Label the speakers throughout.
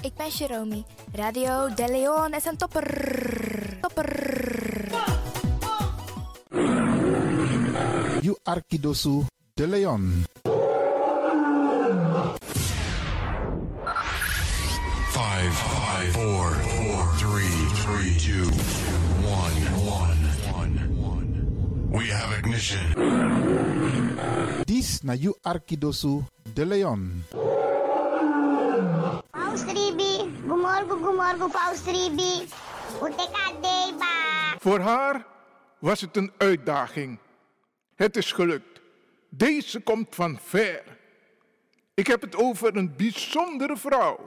Speaker 1: Ik ben Jerome. Radio De Leon is een topper. Topper.
Speaker 2: You Arkidosu de Leon.
Speaker 3: Five, five, four, four, three, three, two, one, one, one. We have ignition.
Speaker 2: This na You Arkidosu de Leon.
Speaker 4: Paus 3B. Goedemorgen, goedemorgen, Paus 3B. Hoe te gaat deba?
Speaker 5: Voor haar was het een uitdaging. Het is gelukt. Deze komt van ver. Ik heb het over een bijzondere vrouw.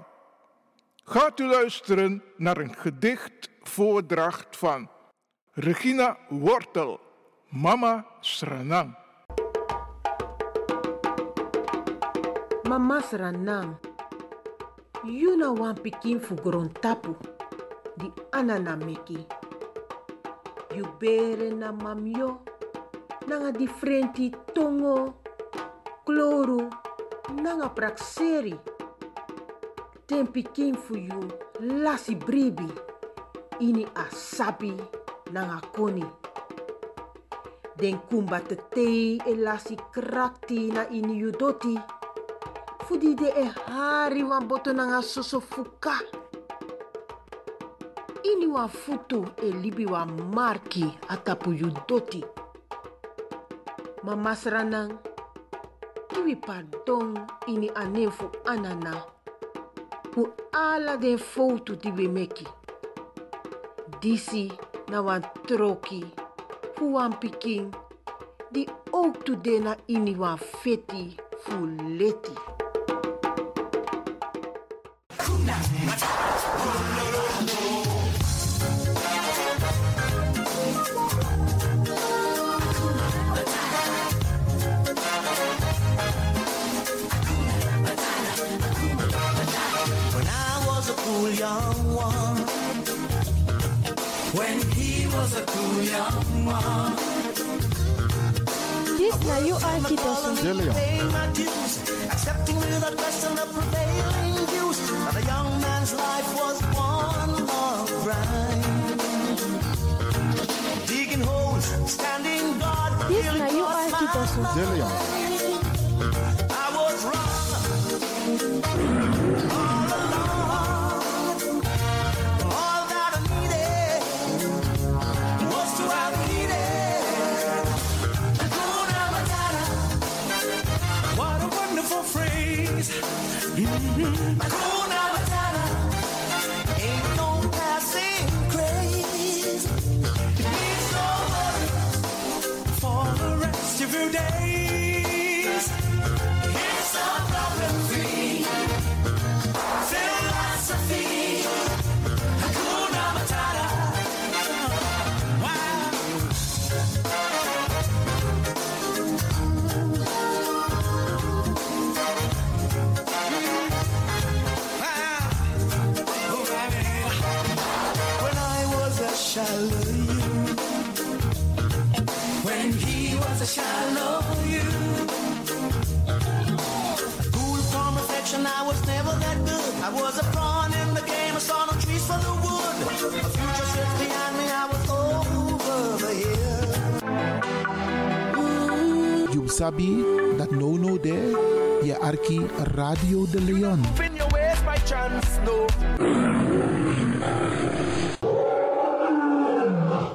Speaker 5: Gaat u luisteren naar een gedichtvoordracht van Regina Wortel, Mama Sranang.
Speaker 6: Mama Saranam, you know one picking for Grontapu, the Ananameki. You bere na mamyo, nanga differenti tongo, kloro, nanga praxeri. Ten picking for you, lasi bribi, ini asabi, nanga koni. Den kumba te tei e lasi krakti na ini yudoti. fudi de e hari wan boto nanga soso fuka ini wan futu e libi wan marki a tapu yu doti ma masranan iwi pardon ini a nen fu anana fu ala den fowtu ti wi meki disi na wan troki fu wan pikin di ook tu de na ini wan feti fu leti
Speaker 7: When I was a cool young one. When he was a cool young one.
Speaker 8: This na you are Kidosu.
Speaker 2: De Leon.
Speaker 7: Paying my dues, accepting without question the prevailing views. But a young man's life was one long grind. Digging holes, standing guard,
Speaker 8: This
Speaker 7: feeling
Speaker 8: na you
Speaker 7: for a
Speaker 8: are
Speaker 7: smile.
Speaker 8: Kidosu.
Speaker 2: De Leon.
Speaker 7: I was wrong. All that I needed was to have needed Hakuna Matata. What a wonderful phrase. Mm-hmm. Hakuna Matata. Ain't no passing craze. It means no worry for the rest of your days. It's a problem-free philosophy. Hakuna Matata. Wow. When I was a shallow you, when he was a shallow you, cool from affection, I was never that good. I was a pawn in the game, I saw no trees for the wood. A future sits behind me, I was over the hill.
Speaker 2: You sabi that no no there. Je Arki Radio de Leon.
Speaker 7: In your ways by chance, no.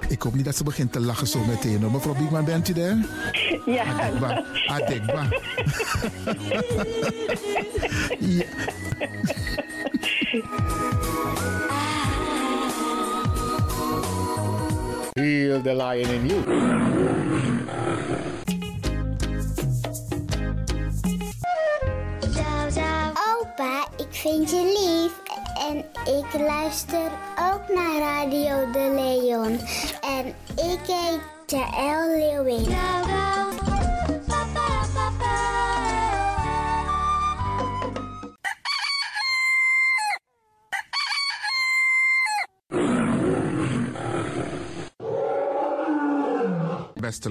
Speaker 2: Ik hoop niet dat ze begint te lachen zo meteen. hoor. Mevrouw Biekman, bent u daar?
Speaker 9: Ja,
Speaker 2: Adekba. Adekba. ja.
Speaker 10: Heal the lion in you.
Speaker 4: Zou, zou. Opa, ik vind je lief. En ik luister ook naar Radio De Leon. En ik heet Jaël Leeuwin.
Speaker 3: beste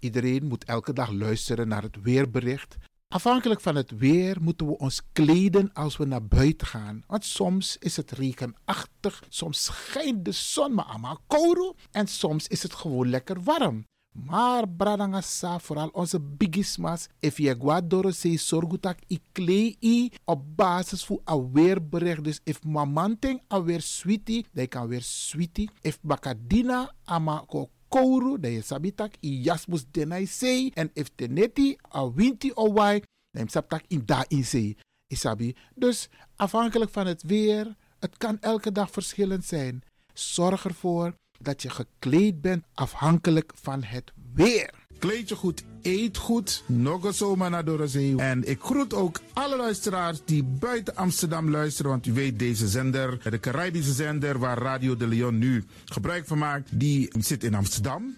Speaker 2: iedereen moet elke dag luisteren naar het weerbericht. Afhankelijk van het weer moeten we ons kleden als we naar buiten gaan. Want soms is het regenachtig, soms schijnt de zon maar allemaal kouro en soms is het gewoon lekker warm. Maar bradangasa, vooral onze bigismas, if je gaat door zee sorgutak i klei i op basis van een weerbericht. Dus if mamanting a weer sweetie, dan kan weer sweetie. If bakadina ama ko kouru, dan je sabitak i jasmus denai zee. En if teneti a winti o wai, dan je sabitak in da in zee. Isabi. Dus afhankelijk van het weer, het kan elke dag verschillend zijn. Zorg ervoor dat je gekleed bent afhankelijk van het weer.
Speaker 3: Kleed je goed, eet goed. Nog een zomaar naar Dorozee. En ik groet ook alle luisteraars die buiten Amsterdam luisteren. Want u weet, deze zender, de Caribische zender waar Radio de Leon nu gebruik van maakt, die zit in Amsterdam.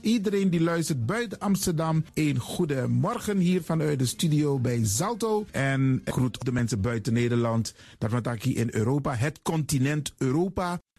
Speaker 3: Iedereen die luistert buiten Amsterdam, een goede morgen hier vanuit de studio bij Zalto. En ik groet de mensen buiten Nederland, dat we het hier in Europa, het continent Europa.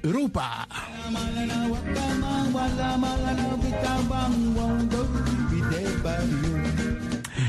Speaker 3: Europa.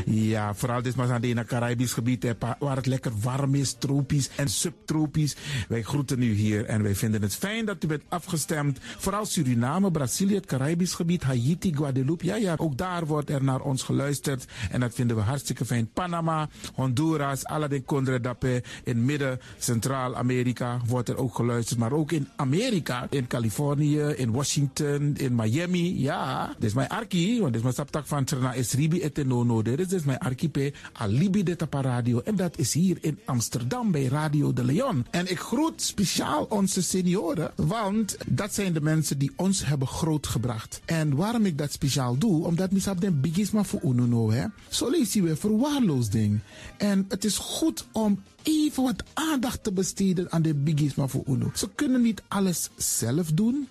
Speaker 3: Ja, vooral dit maar aan het ene Caribisch gebied, hè, pa- waar het lekker warm is, tropisch en subtropisch. Wij groeten u hier en wij vinden het fijn dat u bent afgestemd. Vooral Suriname, Brazilië, het Caribisch gebied, Haiti, Guadeloupe. Ja, ja, ook daar wordt er naar ons geluisterd en dat vinden we hartstikke fijn. Panama, Honduras, Aladdin Condre Dapé, in midden, Centraal-Amerika wordt er ook geluisterd. Maar ook in Amerika, in Californië, in Washington, in Miami. Ja, dit is mijn arki, want dit is mijn saptak van Trena Esribi et Nono. Dit is dus mijn archipel Alibi de Tapa Radio. En dat is hier in Amsterdam bij Radio de Leon. En ik groet speciaal onze senioren, want dat zijn de mensen die ons hebben grootgebracht. En waarom ik dat speciaal doe, omdat misap den biggies maar voor uno nou, hè. Zo lees je weer verwaarloosding. En het is goed om even wat aandacht te besteden aan de biggies maar voor uno. Ze kunnen niet alles zelf doen.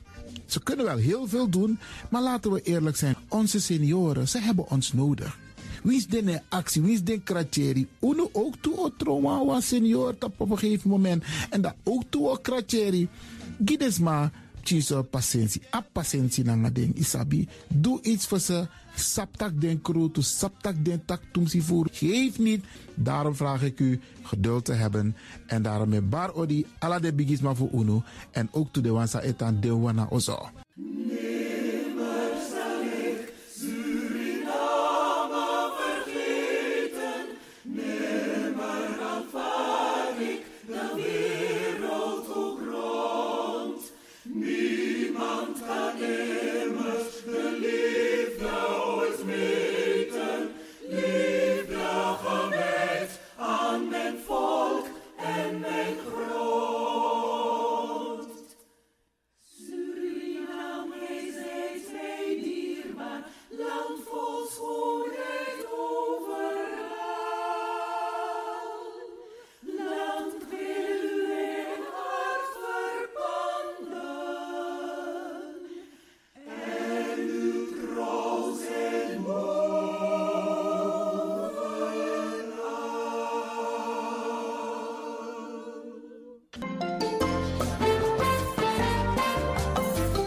Speaker 3: Ze kunnen wel heel veel doen, maar laten we eerlijk zijn. Onze senioren, ze hebben ons nodig. Wie is de actie, wie is de kratjeri? Uno ook toe o trauma wa senior tap op een gegeven moment. En dat ook toe o kratjeri. Gides maar, tjiso patiëntie. A patiëntie na nga ding, isabi. Doe iets voor ze. Saptak den kroto, saptak den tak tumsi voer. Geef niet. Daarom vraag ik u geduld te hebben. En daarom met bar odi, ala de bigisma voor uno. En ook toe de wansa etan de wana ozo.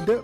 Speaker 2: De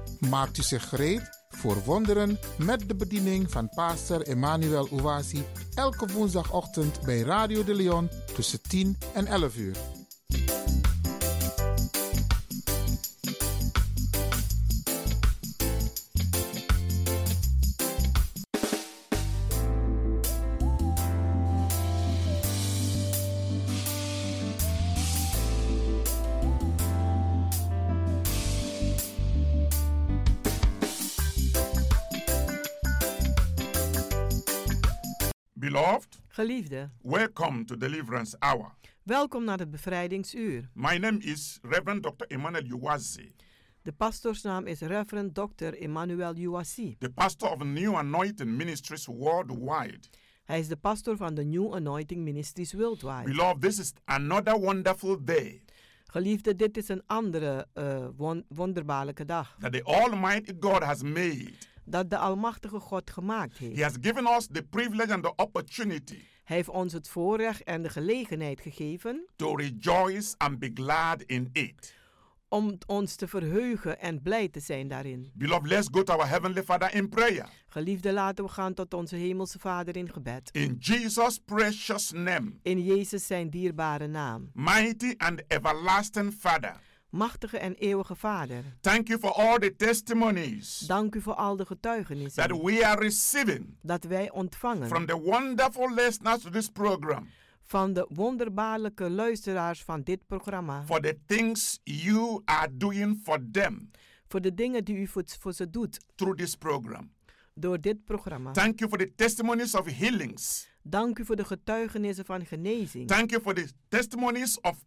Speaker 3: Maakt u zich gereed voor wonderen met de bediening van pastor Emmanuel Ouasi elke woensdagochtend bij Radio de Leon tussen 10 en 11 uur.
Speaker 11: Beloved,
Speaker 12: Geliefde,
Speaker 11: welcome to Deliverance Hour.
Speaker 12: welkom naar het bevrijdingsuur.
Speaker 11: My name is Reverend Dr. Emmanuel Uwazi,
Speaker 12: De pastorsnaam is Reverend Dr. Emmanuel Uwasi.
Speaker 11: the pastor of New Anointing Ministries worldwide.
Speaker 12: Hij is de pastor van de New Anointing Ministries Worldwide.
Speaker 11: Beloved, this is another wonderful day
Speaker 12: Geliefde, dit is een andere eh, won- wonderbaarlijke dag
Speaker 11: that the Almighty God has made.
Speaker 12: dat de Almachtige God gemaakt heeft.
Speaker 11: He has given us the privilege and the opportunity
Speaker 12: Hij heeft ons het voorrecht en de gelegenheid gegeven
Speaker 11: to rejoice and be glad in it.
Speaker 12: om ons te verheugen en blij te zijn daarin.
Speaker 11: Beloved, let's go to our Heavenly Father in prayer.
Speaker 12: Geliefde, laten we gaan tot onze Hemelse Vader in gebed.
Speaker 11: In Jesus' precious name,
Speaker 12: In Jezus zijn dierbare naam.
Speaker 11: mighty and everlasting Father,
Speaker 12: Machtige en eeuwige Vader,
Speaker 11: thank you for all the testimonies
Speaker 12: dank u voor al de getuigenissen
Speaker 11: that we are receiving
Speaker 12: dat wij ontvangen
Speaker 11: from the wonderful listeners to this program
Speaker 12: van de wonderbaarlijke luisteraars van dit programma.
Speaker 11: for the things you are doing for them
Speaker 12: Voor de dingen die u voor, voor ze doet
Speaker 11: through this program.
Speaker 12: door dit programma.
Speaker 11: Thank you for the testimonies of healings.
Speaker 12: Dank u voor de getuigenissen van genezing.
Speaker 11: Thank you for the testimonies of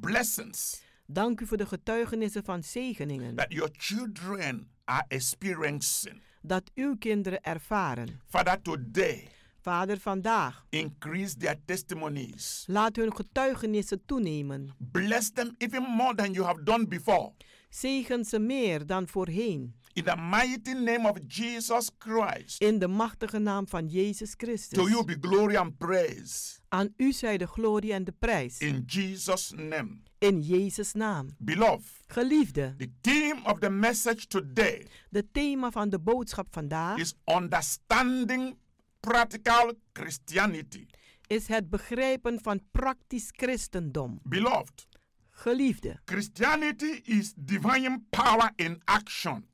Speaker 11: blessings
Speaker 12: Dank u voor de getuigenissen van zegeningen
Speaker 11: that your children are experiencing.
Speaker 12: dat uw kinderen ervaren.
Speaker 11: Father, today,
Speaker 12: Vader, vandaag
Speaker 11: increase their testimonies.
Speaker 12: laat hun getuigenissen toenemen.
Speaker 11: Bless them even more than you have done before.
Speaker 12: Zegen ze meer dan voorheen.
Speaker 11: In the mighty name of Jesus Christ,
Speaker 12: In de machtige naam van Jezus
Speaker 11: to you
Speaker 12: Christus.
Speaker 11: be glory and praise.
Speaker 12: Aan u zij de glorie en de prijs.
Speaker 11: In Jesus' name.
Speaker 12: In Jezus' naam.
Speaker 11: Beloved,
Speaker 12: Geliefde,
Speaker 11: the theme of the message today
Speaker 12: de thema van de boodschap vandaag
Speaker 11: is understanding practical Christianity.
Speaker 12: is het begrijpen van praktisch christendom.
Speaker 11: Beloved,
Speaker 12: Geliefde,
Speaker 11: Christianity is divine power in action.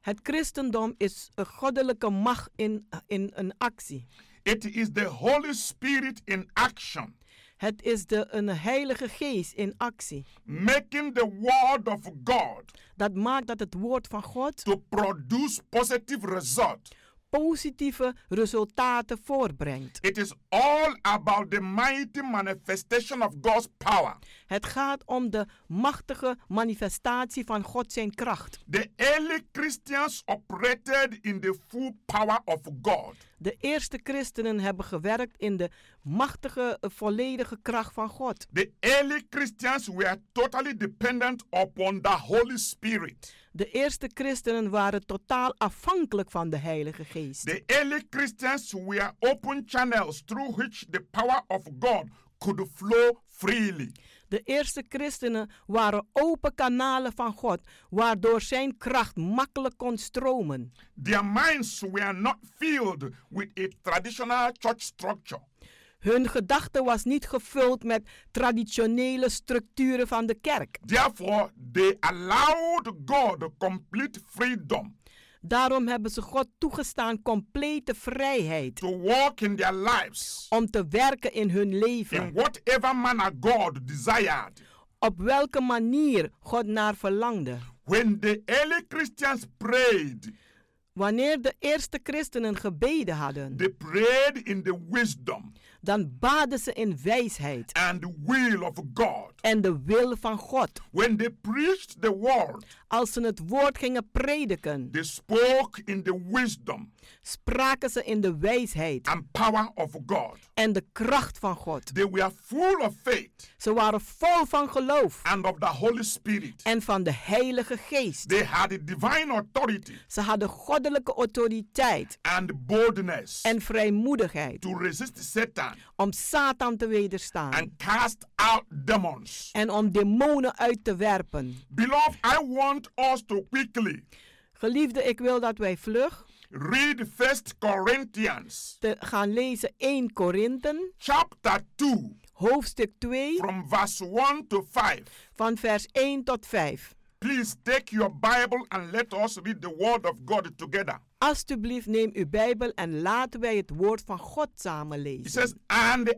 Speaker 12: het christendom is een goddelijke macht in, in een actie.
Speaker 11: It is the Holy Spirit in action,
Speaker 12: Het is de, een heilige geest in actie.
Speaker 11: making the word of God
Speaker 12: Dat maakt dat het woord van God
Speaker 11: to produce positive result.
Speaker 12: positieve resultaten voortbrengt.
Speaker 11: It is all about the mighty manifestation of God's power,
Speaker 12: Het gaat om de machtige manifestatie van God zijn kracht.
Speaker 11: The early Christians operated in the full power of God.
Speaker 12: De eerste christenen hebben gewerkt in de machtige, eh, volledige kracht van God.
Speaker 11: The early Christians were totally dependent upon the Holy Spirit.
Speaker 12: De eerste christenen waren totaal afhankelijk van de Heilige Geest.
Speaker 11: The early Christians were open channels through which the power of God could flow freely.
Speaker 12: De eerste christenen waren open kanalen van God, waardoor zijn kracht makkelijk kon stromen.
Speaker 11: Their minds were not filled with a traditional church structure.
Speaker 12: Hun gedachte was niet gevuld met traditionele structuren van de kerk.
Speaker 11: Therefore, they allowed God complete freedom
Speaker 12: Daarom hebben ze God toegestaan complete vrijheid.
Speaker 5: to walk in their lives
Speaker 12: Om te werken in hun leven.
Speaker 5: in whatever manner God desired.
Speaker 12: Op welke manier God naar verlangde.
Speaker 5: When the early Christians prayed,
Speaker 12: Wanneer de eerste christenen gebeden hadden,
Speaker 5: they prayed in the wisdom
Speaker 12: dan baden ze in wijsheid
Speaker 5: and will of God.
Speaker 12: en de wil van God.
Speaker 5: When they preached the word,
Speaker 12: Als ze het woord gingen prediken,
Speaker 5: they spoke in the wisdom
Speaker 12: spraken ze in de wijsheid
Speaker 5: and power of God.
Speaker 12: en de kracht van God.
Speaker 5: They were full of faith
Speaker 12: Ze waren vol van geloof
Speaker 5: and of the Holy Spirit.
Speaker 12: en van de Heilige Geest.
Speaker 5: They had a divine authority
Speaker 12: Ze hadden goddelijke autoriteit
Speaker 5: and boldness
Speaker 12: en vrijmoedigheid
Speaker 5: to resist Satan
Speaker 12: om Satan te wederstaan
Speaker 5: and cast out demons.
Speaker 12: en om demonen uit te werpen.
Speaker 5: Beloved, I want us to quickly
Speaker 12: Geliefde, ik wil dat wij vlug
Speaker 5: read First Corinthians
Speaker 12: te gaan lezen 1 Korinthen,
Speaker 5: chapter 2
Speaker 12: hoofdstuk 2,
Speaker 5: from verse 1 to 5.
Speaker 12: van vers 1 tot 5.
Speaker 5: Please take your Bible and let us read the word of God together.
Speaker 12: Alsjeblieft, neem uw Bijbel en laten wij het woord van God samen
Speaker 5: He
Speaker 12: lezen.
Speaker 5: says, And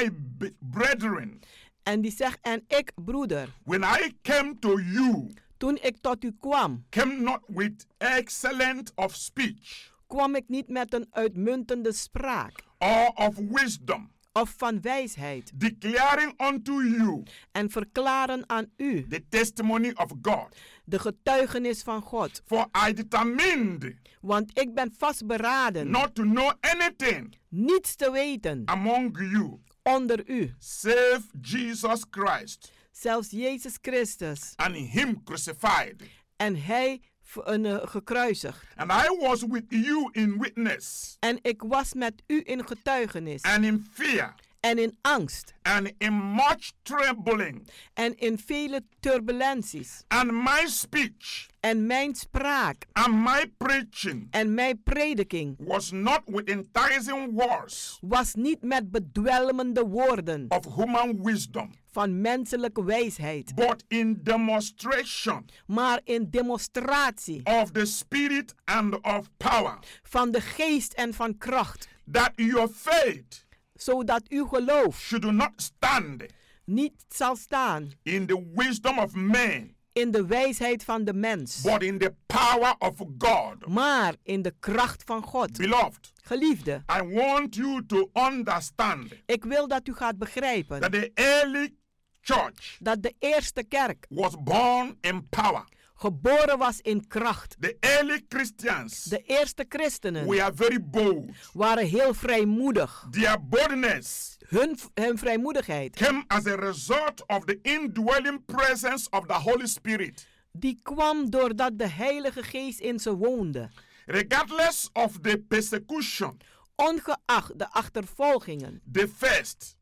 Speaker 5: I, b- brethren,
Speaker 12: En die zegt, en ik, broeder,
Speaker 5: when I came to you,
Speaker 12: toen ik tot u kwam,
Speaker 5: came not with excellent of speech
Speaker 12: kwam ik niet met een uitmuntende spraak
Speaker 5: or of wisdom,
Speaker 12: of van wijsheid
Speaker 5: declaring unto you
Speaker 12: en verklaren aan u
Speaker 5: the testimony of God.
Speaker 12: de getuigenis van God.
Speaker 5: For I determined
Speaker 12: Want ik ben vastberaden
Speaker 5: not to know anything
Speaker 12: niets te weten
Speaker 5: among you
Speaker 12: onder u,
Speaker 5: save Jesus Christ
Speaker 12: zelfs Jezus Christus
Speaker 5: and Him crucified.
Speaker 12: en hij v- een, eh, gekruisigd.
Speaker 5: And I was with you in witness
Speaker 12: En ik was met u in getuigenis
Speaker 5: and in fear
Speaker 12: en in angst
Speaker 5: and in much trembling.
Speaker 12: en in vele turbulenties.
Speaker 5: And my speech
Speaker 12: En mijn spraak
Speaker 5: and my preaching
Speaker 12: en mijn prediking
Speaker 5: was not with enticing words
Speaker 12: was niet met bedwelmende woorden
Speaker 5: of human wisdom,
Speaker 12: van menselijke wijsheid,
Speaker 5: but in demonstration
Speaker 12: maar in demonstratie
Speaker 5: of the Spirit and of power,
Speaker 12: van de geest en van kracht,
Speaker 5: that your faith
Speaker 12: zodat uw geloof
Speaker 5: should not stand
Speaker 12: niet zal staan
Speaker 5: in the wisdom of men,
Speaker 12: in de wijsheid van de mens,
Speaker 5: but in the power of God.
Speaker 12: maar in de kracht van God.
Speaker 5: Beloved,
Speaker 12: Geliefde,
Speaker 5: I want you to understand
Speaker 12: ik wil dat u gaat
Speaker 5: that
Speaker 12: begrijpen
Speaker 5: the early church
Speaker 12: dat de eerste kerk
Speaker 5: was born in power.
Speaker 12: geboren was in kracht.
Speaker 5: The early Christians
Speaker 12: De eerste christenen
Speaker 5: were very bold.
Speaker 12: waren heel vrijmoedig.
Speaker 5: Their boldness
Speaker 12: Hun, hun vrijmoedigheid
Speaker 5: came as a result of the indwelling presence of the Holy Spirit.
Speaker 12: die kwam doordat de Heilige Geest in ze woonde.
Speaker 5: Regardless of the persecution
Speaker 12: Ongeacht de achtervolgingen
Speaker 5: they faced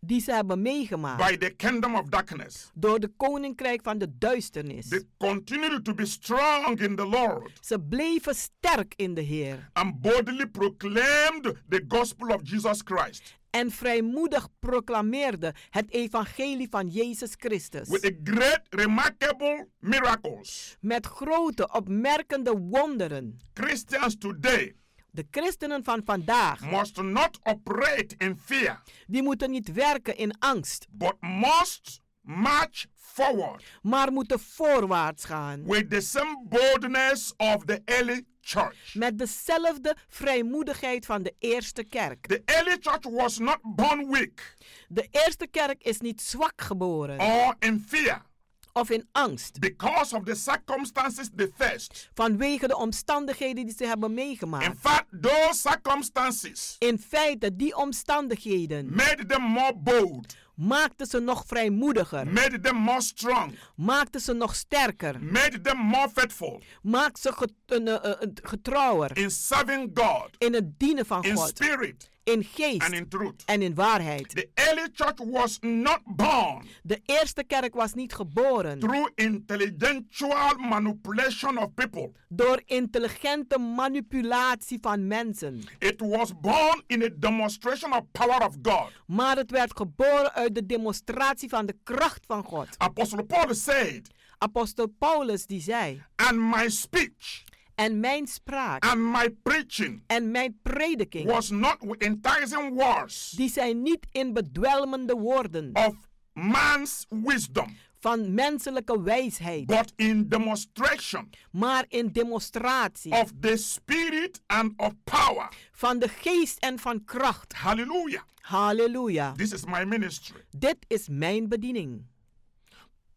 Speaker 12: die ze hebben meegemaakt
Speaker 5: by the kingdom of darkness,
Speaker 12: door de koninkrijk van de
Speaker 5: they
Speaker 12: duisternis.
Speaker 5: continued to be strong in the Lord
Speaker 12: Ze bleven sterk in de Heer
Speaker 5: and boldly proclaimed the gospel of Jesus Christ
Speaker 12: en vrijmoedig proclameerden het evangelie van Jezus
Speaker 5: with
Speaker 12: Christus
Speaker 5: the great, remarkable miracles.
Speaker 12: met grote opmerkende wonderen.
Speaker 5: Christians today
Speaker 12: De christenen van vandaag
Speaker 5: must not operate in fear,
Speaker 12: die moeten niet werken in angst,
Speaker 5: but must march forward
Speaker 12: maar moeten voorwaarts gaan
Speaker 5: with the same boldness of the early church.
Speaker 12: met dezelfde vrijmoedigheid van de eerste kerk.
Speaker 5: The early church was not born weak
Speaker 12: De eerste kerk is niet zwak geboren
Speaker 5: or in fear
Speaker 12: of in angst
Speaker 5: because of the circumstances they faced.
Speaker 12: vanwege de omstandigheden die ze hebben
Speaker 5: In
Speaker 12: meegemaakt.
Speaker 5: fact, those circumstances
Speaker 12: In feite, die omstandigheden
Speaker 5: made them more bold,
Speaker 12: maakten ze nog vrijmoediger,
Speaker 5: made them more strong,
Speaker 12: maakten ze nog sterker,
Speaker 5: made them more faithful
Speaker 12: maakten ze get- een, eh, eh, getrouwer
Speaker 5: in serving God
Speaker 12: in het dienen van
Speaker 5: in
Speaker 12: God,
Speaker 5: spirit
Speaker 12: in
Speaker 5: and
Speaker 12: geest
Speaker 5: in truth.
Speaker 12: en in waarheid.
Speaker 5: The early church was not born
Speaker 12: De eerste kerk was niet geboren
Speaker 5: through intellectual manipulation of people.
Speaker 12: door intelligente manipulatie van mensen,
Speaker 5: It was born in a demonstration of power of God.
Speaker 12: maar het werd geboren uit de demonstratie van de kracht van God.
Speaker 5: Apostle Paul said,
Speaker 12: Apostel Paulus die zei:
Speaker 5: "And my speech
Speaker 12: En En mijn spraak.
Speaker 5: And my preaching
Speaker 12: en mijn prediking.
Speaker 5: was not with enticing words
Speaker 12: die zijn niet in bedwelmende woorden.
Speaker 5: of man's wisdom,
Speaker 12: van menselijke wijsheid.
Speaker 5: but in demonstration
Speaker 12: maar in demonstratie.
Speaker 5: of the spirit and of power.
Speaker 12: van de geest en van kracht.
Speaker 5: Hallelujah.
Speaker 12: Halleluja.
Speaker 5: This is my ministry.
Speaker 12: Dit is mijn bediening.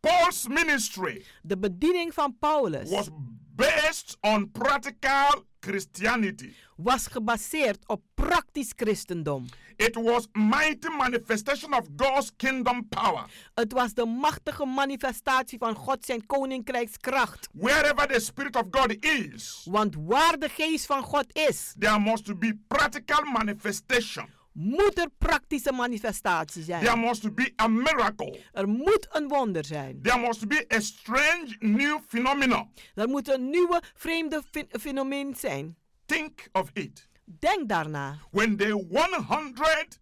Speaker 5: Paul's ministry
Speaker 12: De bediening van Paulus
Speaker 5: was based on practical Christianity.
Speaker 12: was gebaseerd op praktisch christendom.
Speaker 5: It was mighty manifestation of God's kingdom power.
Speaker 12: Het was de machtige manifestatie van God zijn koninkrijkskracht.
Speaker 5: Wherever the spirit of God is,
Speaker 12: Want waar de geest van God is,
Speaker 5: there must be practical manifestation.
Speaker 12: moet er praktische manifestatie
Speaker 5: There
Speaker 12: zijn.
Speaker 5: must be a miracle.
Speaker 12: Er moet een wonder zijn.
Speaker 5: There must be a strange new phenomenon.
Speaker 12: Er moet een nieuwe vreemde fe- fenomeen zijn.
Speaker 5: Think of it.
Speaker 12: Denk daarna.
Speaker 5: When the 100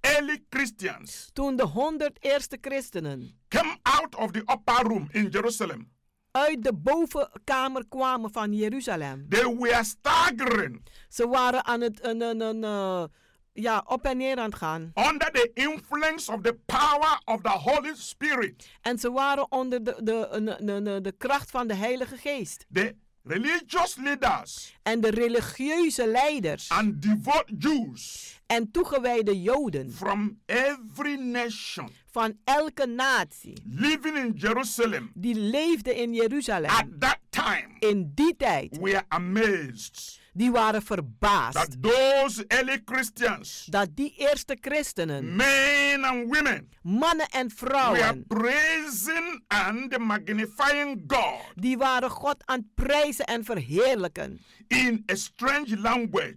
Speaker 5: early Christians
Speaker 12: Toen de 100 eerste christenen
Speaker 5: came out of the upper room in Jerusalem,
Speaker 12: uit de bovenkamer kwamen van Jeruzalem.
Speaker 5: they were staggering
Speaker 12: Ze waren aan het een, een, een, eh, ja, op en neer aan het gaan.
Speaker 5: under the influence of the power of the Holy Spirit.
Speaker 12: En ze waren onder de, de, een- een- een- de kracht van de Heilige Geest.
Speaker 5: The religious leaders
Speaker 12: En de religieuze leiders
Speaker 5: and devout Jews
Speaker 12: en toegewijde Joden
Speaker 5: from every nation
Speaker 12: van elke natie
Speaker 5: living in Jerusalem
Speaker 12: die leefden in
Speaker 5: at
Speaker 12: Jeruzalem
Speaker 5: that time
Speaker 12: in die tijd,
Speaker 5: were amazed
Speaker 12: die waren verbaasd
Speaker 5: that those early Christians,
Speaker 12: dat die eerste christenen,
Speaker 5: men and women,
Speaker 12: mannen en
Speaker 5: were
Speaker 12: vrouwen,
Speaker 5: praising and magnifying God
Speaker 12: die waren God aan het prijzen en verheerlijken
Speaker 5: in a strange language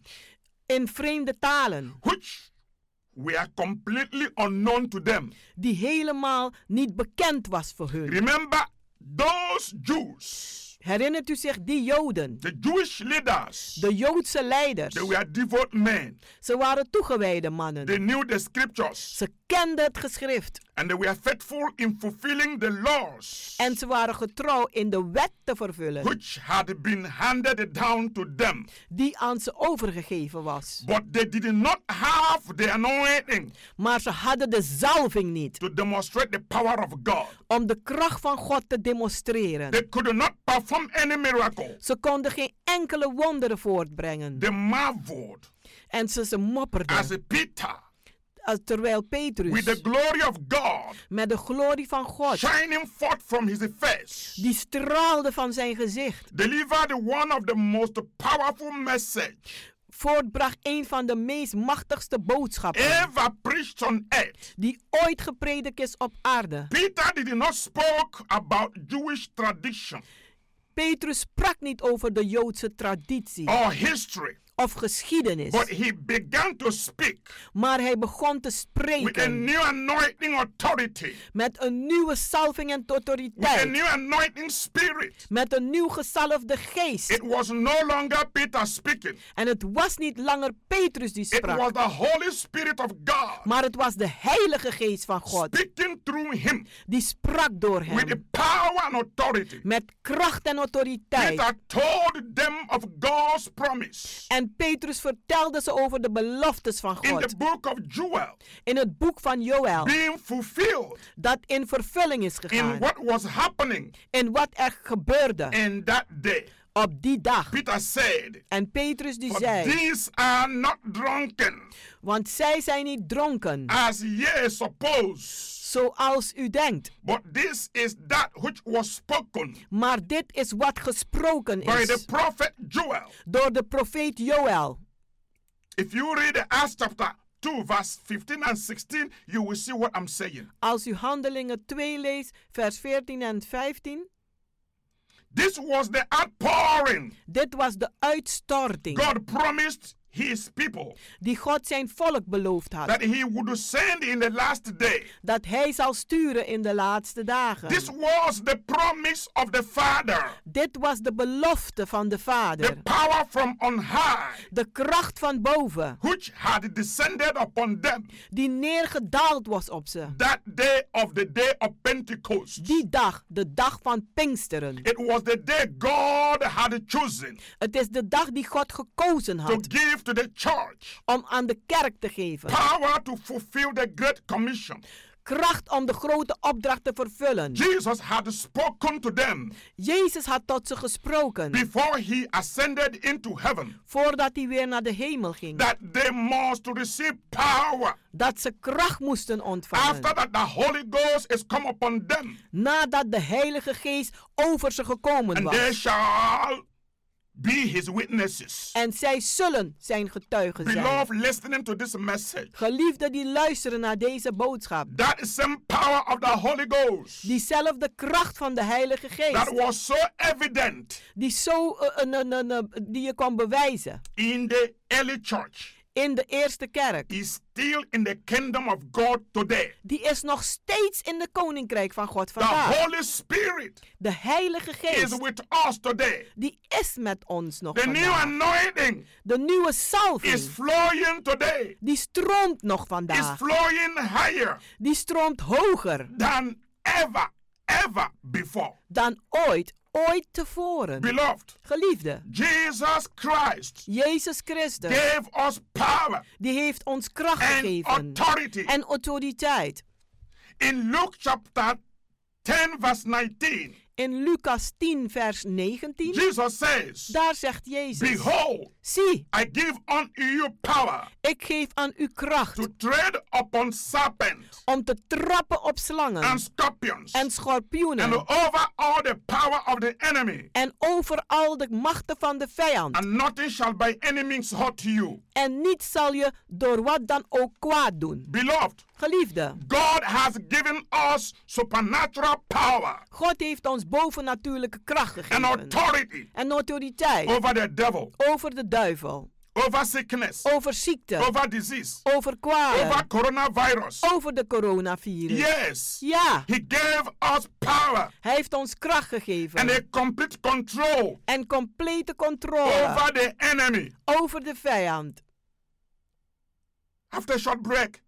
Speaker 12: in vreemde talen
Speaker 5: which were completely unknown to them.
Speaker 12: die helemaal niet bekend was voor hun.
Speaker 5: Remember, those Jews,
Speaker 12: Herinnert u zich die Joden,
Speaker 5: the Jewish leaders,
Speaker 12: de Joodse leiders?
Speaker 5: they were devout men.
Speaker 12: Ze waren toegewijde
Speaker 5: They
Speaker 12: mannen.
Speaker 5: knew the scriptures
Speaker 12: Ze kenden het geschrift
Speaker 5: and they were faithful in fulfilling the laws
Speaker 12: en ze waren getrouw in de wet te vervullen
Speaker 5: which had been handed down to them.
Speaker 12: die aan ze overgegeven was.
Speaker 5: But they did not have the anointing
Speaker 12: Maar ze hadden de zalving niet
Speaker 5: to demonstrate the power of God.
Speaker 12: om de kracht van God te
Speaker 5: They
Speaker 12: demonstreren.
Speaker 5: could not perform any miracle.
Speaker 12: Ze konden geen enkele wonderen voortbrengen.
Speaker 5: They marveled
Speaker 12: En ze, ze
Speaker 5: as
Speaker 12: mopperden.
Speaker 5: Peter,
Speaker 12: Als- Terwijl
Speaker 5: with the
Speaker 12: Petrus
Speaker 5: glory of God
Speaker 12: met de glorie van God,
Speaker 5: shining forth from his face,
Speaker 12: die straalde van zijn gezicht,
Speaker 5: delivered one of the most powerful message
Speaker 12: voortbracht een van de meest machtigste boodschappen
Speaker 5: ever preached on earth.
Speaker 12: die ooit gepredikt is op aarde.
Speaker 5: Peter did not spoke about Jewish tradition
Speaker 12: Petrus sprak niet over de Joodse traditie
Speaker 5: or history,
Speaker 12: of geschiedenis,
Speaker 5: but he began to speak
Speaker 12: maar hij begon te
Speaker 5: with a
Speaker 12: spreken
Speaker 5: new anointing authority,
Speaker 12: met een nieuwe salving en
Speaker 5: with a
Speaker 12: autoriteit,
Speaker 5: new anointing spirit.
Speaker 12: met een nieuw gezalfde geest.
Speaker 5: It was no longer Peter speaking.
Speaker 12: En het was niet langer Petrus die
Speaker 5: It was
Speaker 12: sprak,
Speaker 5: the Holy Spirit of God
Speaker 12: maar het was de Heilige Geest van God
Speaker 5: speaking through him
Speaker 12: die sprak door
Speaker 5: with the
Speaker 12: hem
Speaker 5: power and authority.
Speaker 12: met kracht en autoriteit.
Speaker 5: Peter told them of God's promise
Speaker 12: En Petrus vertelde ze over de beloftes van
Speaker 5: in the
Speaker 12: God
Speaker 5: book of Joel
Speaker 12: in het boek van Joël,
Speaker 5: being fulfilled
Speaker 12: dat in vervulling is
Speaker 5: in
Speaker 12: gegaan,
Speaker 5: what was happening
Speaker 12: in wat er gebeurde
Speaker 5: in that day.
Speaker 12: op die dag.
Speaker 5: Peter said,
Speaker 12: En Petrus die
Speaker 5: But
Speaker 12: zei,
Speaker 5: these are not drunken
Speaker 12: want zij zijn niet dronken,
Speaker 5: as ye suppose,
Speaker 12: zoals u denkt.
Speaker 5: but this is that which was spoken
Speaker 12: Maar dit is wat gesproken
Speaker 5: by the
Speaker 12: is
Speaker 5: prophet Joel.
Speaker 12: door de profeet Joël.
Speaker 5: If you read Acts chapter 2, verse 15 and 16, you will see what I'm saying.
Speaker 12: Als u Handelingen 2 leest, vers 14 en 15.
Speaker 5: This was the outpouring
Speaker 12: Dit was de uitstorting
Speaker 5: God promised his people.
Speaker 12: die God zijn volk beloofd had.
Speaker 5: That he would send in the last day.
Speaker 12: Dat hij zal sturen in de laatste dagen.
Speaker 5: This was the promise of the Father.
Speaker 12: Dit was de belofte van de Vader.
Speaker 5: The power from on high.
Speaker 12: De kracht van boven.
Speaker 5: Which had descended upon them.
Speaker 12: Die neergedaald was op ze.
Speaker 5: That day of the day of Pentecost.
Speaker 12: Die dag, de dag van Pinksteren.
Speaker 5: It was the day God had chosen.
Speaker 12: Het is de dag die God gekozen
Speaker 5: to
Speaker 12: had
Speaker 5: give to the church
Speaker 12: om aan de kerk te geven.
Speaker 5: power to fulfill the great commission.
Speaker 12: Kracht om de grote opdracht te vervullen.
Speaker 5: Jesus had spoken to them
Speaker 12: Jezus had tot ze gesproken
Speaker 5: before he ascended into heaven
Speaker 12: voordat hij weer naar de hemel ging.
Speaker 5: that they must receive power
Speaker 12: Dat ze kracht moesten
Speaker 5: after
Speaker 12: ontvangen
Speaker 5: that the Holy Ghost is come upon them
Speaker 12: nadat de Heilige Geest over ze gekomen
Speaker 5: and they
Speaker 12: was.
Speaker 5: shall be his witnesses.
Speaker 12: En zij zullen zijn getuigen zijn.
Speaker 5: Beloved, listening to this message,
Speaker 12: Geliefden die luisteren naar deze boodschap.
Speaker 5: that same power of the Holy Ghost
Speaker 12: Diezelfde kracht van de Heilige
Speaker 5: that
Speaker 12: Geest.
Speaker 5: was so evident
Speaker 12: Die, zo, eh, eh, eh, eh, eh, die je kon bewijzen
Speaker 5: in the early church
Speaker 12: in de eerste kerk.
Speaker 5: is still in the kingdom of God today.
Speaker 12: die is nog steeds in de koninkrijk van God
Speaker 5: The
Speaker 12: vandaag.
Speaker 5: Holy Spirit
Speaker 12: De Heilige
Speaker 5: is
Speaker 12: Geest,
Speaker 5: with us today.
Speaker 12: die is met ons nog
Speaker 5: The new
Speaker 12: vandaag.
Speaker 5: anointing
Speaker 12: De nieuwe
Speaker 5: is
Speaker 12: salving,
Speaker 5: flowing today.
Speaker 12: die stroomt nog
Speaker 5: Is
Speaker 12: vandaag.
Speaker 5: flowing higher
Speaker 12: Die stroomt hoger
Speaker 5: than ever, ever before.
Speaker 12: dan ooit, ooit tevoren.
Speaker 5: Beloved,
Speaker 12: Geliefde,
Speaker 5: Jesus Christ
Speaker 12: Jezus Christus,
Speaker 5: gave us power
Speaker 12: die heeft ons kracht
Speaker 5: and
Speaker 12: gegeven
Speaker 5: authority.
Speaker 12: en autoriteit.
Speaker 5: In Luke chapter 10, verse 19,
Speaker 12: In Lucas 10, vers 19,
Speaker 5: Jesus says,
Speaker 12: daar zegt Jezus,
Speaker 5: Behold,
Speaker 12: zie,
Speaker 5: I give unto you power
Speaker 12: ik geef aan u kracht
Speaker 5: to tread upon serpents
Speaker 12: om te trappen op
Speaker 5: and
Speaker 12: slangen
Speaker 5: scorpions
Speaker 12: en
Speaker 5: and
Speaker 12: schorpioenen
Speaker 5: over all the power of the enemy,
Speaker 12: en over al de machten van de vijand.
Speaker 5: and nothing shall by any means hurt you.
Speaker 12: En niet zal je door wat dan ook kwaad doen.
Speaker 5: Beloved,
Speaker 12: Geliefde,
Speaker 5: God has given us supernatural power
Speaker 12: God heeft ons bovennatuurlijke kracht
Speaker 5: and
Speaker 12: gegeven
Speaker 5: authority
Speaker 12: en autoriteit
Speaker 5: over the devil,
Speaker 12: over de duivel,
Speaker 5: over sickness,
Speaker 12: over ziekte,
Speaker 5: over disease,
Speaker 12: over
Speaker 5: over
Speaker 12: kwalen,
Speaker 5: coronavirus.
Speaker 12: over de coronavirus.
Speaker 5: Yes,
Speaker 12: Ja,
Speaker 5: He gave us power
Speaker 12: hij heeft ons kracht
Speaker 5: and
Speaker 12: gegeven
Speaker 5: a complete control
Speaker 12: en complete controle
Speaker 5: over the enemy.
Speaker 12: over de vijand.
Speaker 5: After a short break,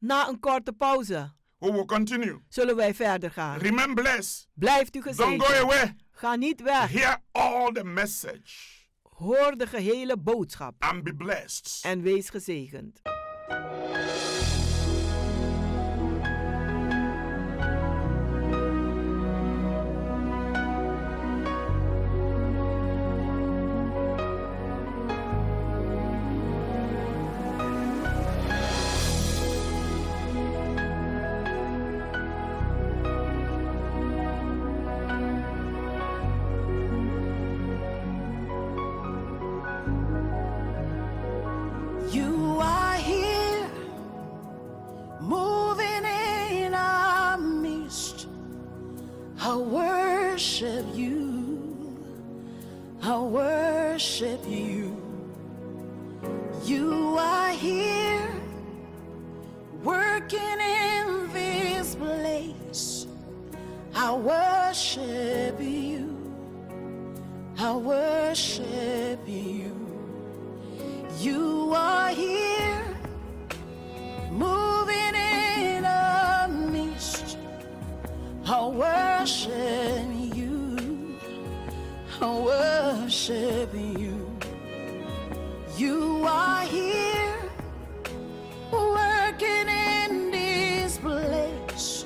Speaker 12: Na een korte pauze
Speaker 5: we will continue.
Speaker 12: zullen wij verder gaan.
Speaker 5: Remain blessed.
Speaker 12: Blijft u
Speaker 5: Don't go
Speaker 12: gezegend.
Speaker 5: away.
Speaker 12: Ga niet weg.
Speaker 5: Hear all the message
Speaker 12: Hoor de gehele boodschap.
Speaker 5: and be blessed.
Speaker 12: en wees gezegend.
Speaker 7: You are here, moving in our midst. I worship you. I worship you. You are here, working in this place. I worship you. I worship you. You are here, moving in a mist. I worship you. I worship you. You are here, working in this place.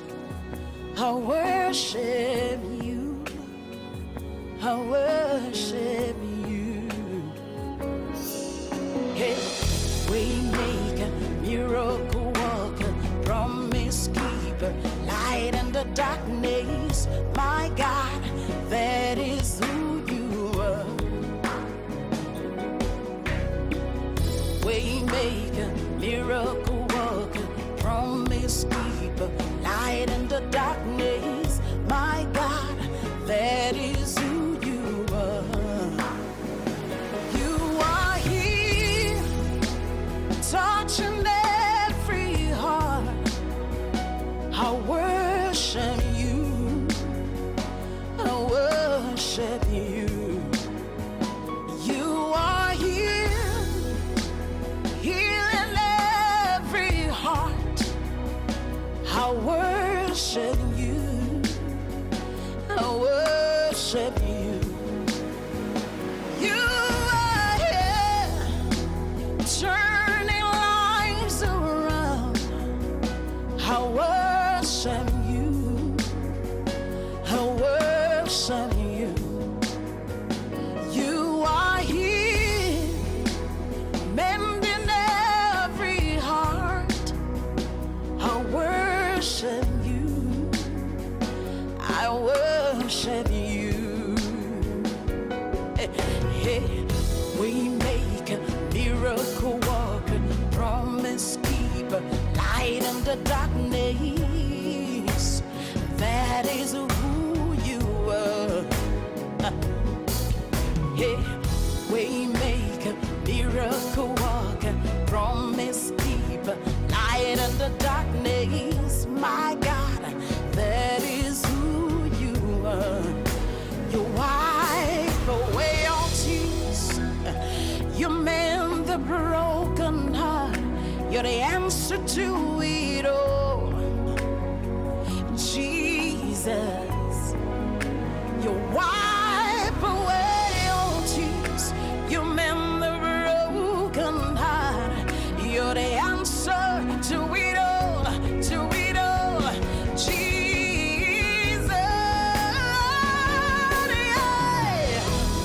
Speaker 7: I worship you. I worship you. Hey, we make a miracle worker, promise keeper, light in the darkness. My God, that is who you are. We make a miracle worker, promise keeper, light in the darkness. My God, that is who you are. You are here, the darkness. That is who you are. Hey, waymaker, miracle walker, promise keeper, light in the darkness. My God, that is who you are. You wipe away all tears. You mend the broken heart. You're the answer to it all. Jesus, you wipe away all tears. You mend the broken heart. You're the answer to it all, to it all. Jesus, yeah.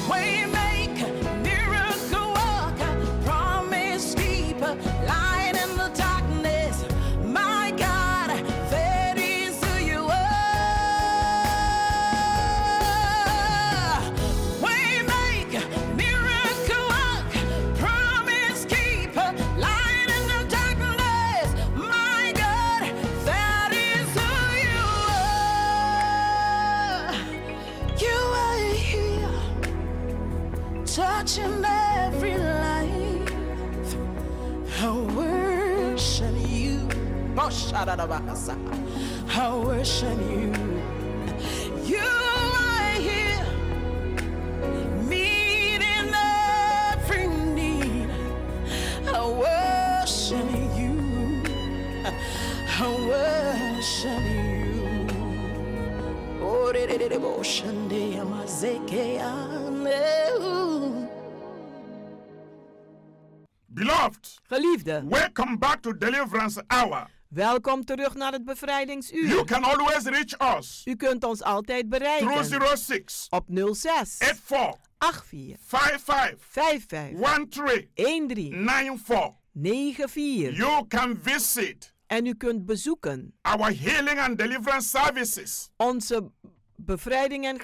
Speaker 7: Waymaker, miracle worker, promise keeper, light in the darkness. My God, that is who you are. Waymaker, miracle worker, promise keeper, light in the darkness. My God, that is who you are. You are here touching every life. I worship you. Boshadadabakasa. I worship you. You are here, meeting every need. I worship you. I worship you. Oh, de de de de, boshande amazeke ane.
Speaker 11: Beloved,
Speaker 12: Geliefde,
Speaker 11: welcome back to Deliverance Hour.
Speaker 12: welkom terug naar het bevrijdingsuur.
Speaker 11: You can always reach us
Speaker 12: U kunt ons altijd
Speaker 11: through
Speaker 12: bereiken
Speaker 11: 06
Speaker 12: op 06
Speaker 11: 84
Speaker 12: 84
Speaker 11: 55
Speaker 12: 55
Speaker 11: 13
Speaker 12: 13
Speaker 11: 94.
Speaker 12: 94.
Speaker 11: You can visit
Speaker 12: En u kunt bezoeken
Speaker 11: our healing and deliverance services
Speaker 12: onze bevrijding en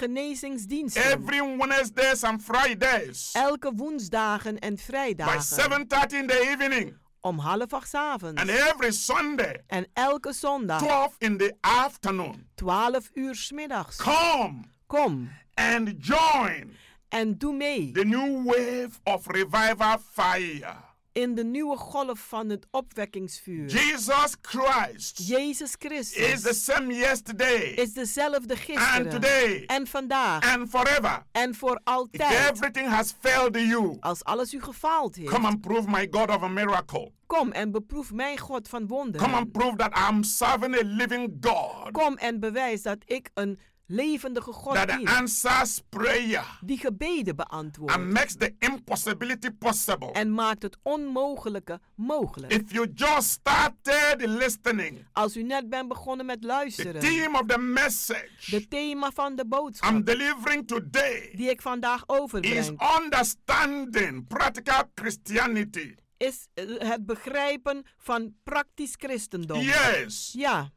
Speaker 12: genezingsdiensten
Speaker 11: every Wednesdays and Fridays
Speaker 12: elke woensdagen en
Speaker 11: by
Speaker 12: vrijdagen
Speaker 11: 7:30 in the evening
Speaker 12: om half acht
Speaker 11: and
Speaker 12: avonds
Speaker 11: every Sunday
Speaker 12: en elke zondag
Speaker 11: 12 in the afternoon.
Speaker 12: 12 uur 's middags.
Speaker 11: Come
Speaker 12: Kom
Speaker 11: and join
Speaker 12: en doe mee
Speaker 11: the new wave of revival fire.
Speaker 12: in de nieuwe golf van het opwekkingsvuur.
Speaker 11: Jesus Christ
Speaker 12: Jezus
Speaker 11: is the
Speaker 12: Christus
Speaker 11: same yesterday
Speaker 12: is dezelfde
Speaker 11: and today
Speaker 12: gisteren en vandaag
Speaker 11: and forever.
Speaker 12: en voor
Speaker 11: If
Speaker 12: altijd.
Speaker 11: everything has failed you,
Speaker 12: Als alles u gefaald
Speaker 11: come
Speaker 12: heeft,
Speaker 11: and prove my God of a miracle.
Speaker 12: kom en beproef mijn God van
Speaker 11: Come
Speaker 12: wonderen.
Speaker 11: and prove that I'm serving a living God
Speaker 12: Kom en bewijs dat ik een levendige God
Speaker 11: that
Speaker 12: dien
Speaker 11: answers prayer
Speaker 12: die gebeden
Speaker 11: and
Speaker 12: beantwoordt
Speaker 11: makes the impossibility possible.
Speaker 12: en maakt het onmogelijke mogelijk.
Speaker 11: If you just started listening,
Speaker 12: Als u net bent begonnen met
Speaker 11: the
Speaker 12: luisteren,
Speaker 11: theme of the message
Speaker 12: de thema van de
Speaker 11: I'm
Speaker 12: boodschap
Speaker 11: delivering today
Speaker 12: die ik vandaag
Speaker 11: is
Speaker 12: overbreng
Speaker 11: understanding practical Christianity.
Speaker 12: is eh, het begrijpen van praktisch christendom.
Speaker 11: Yes.
Speaker 12: Ja,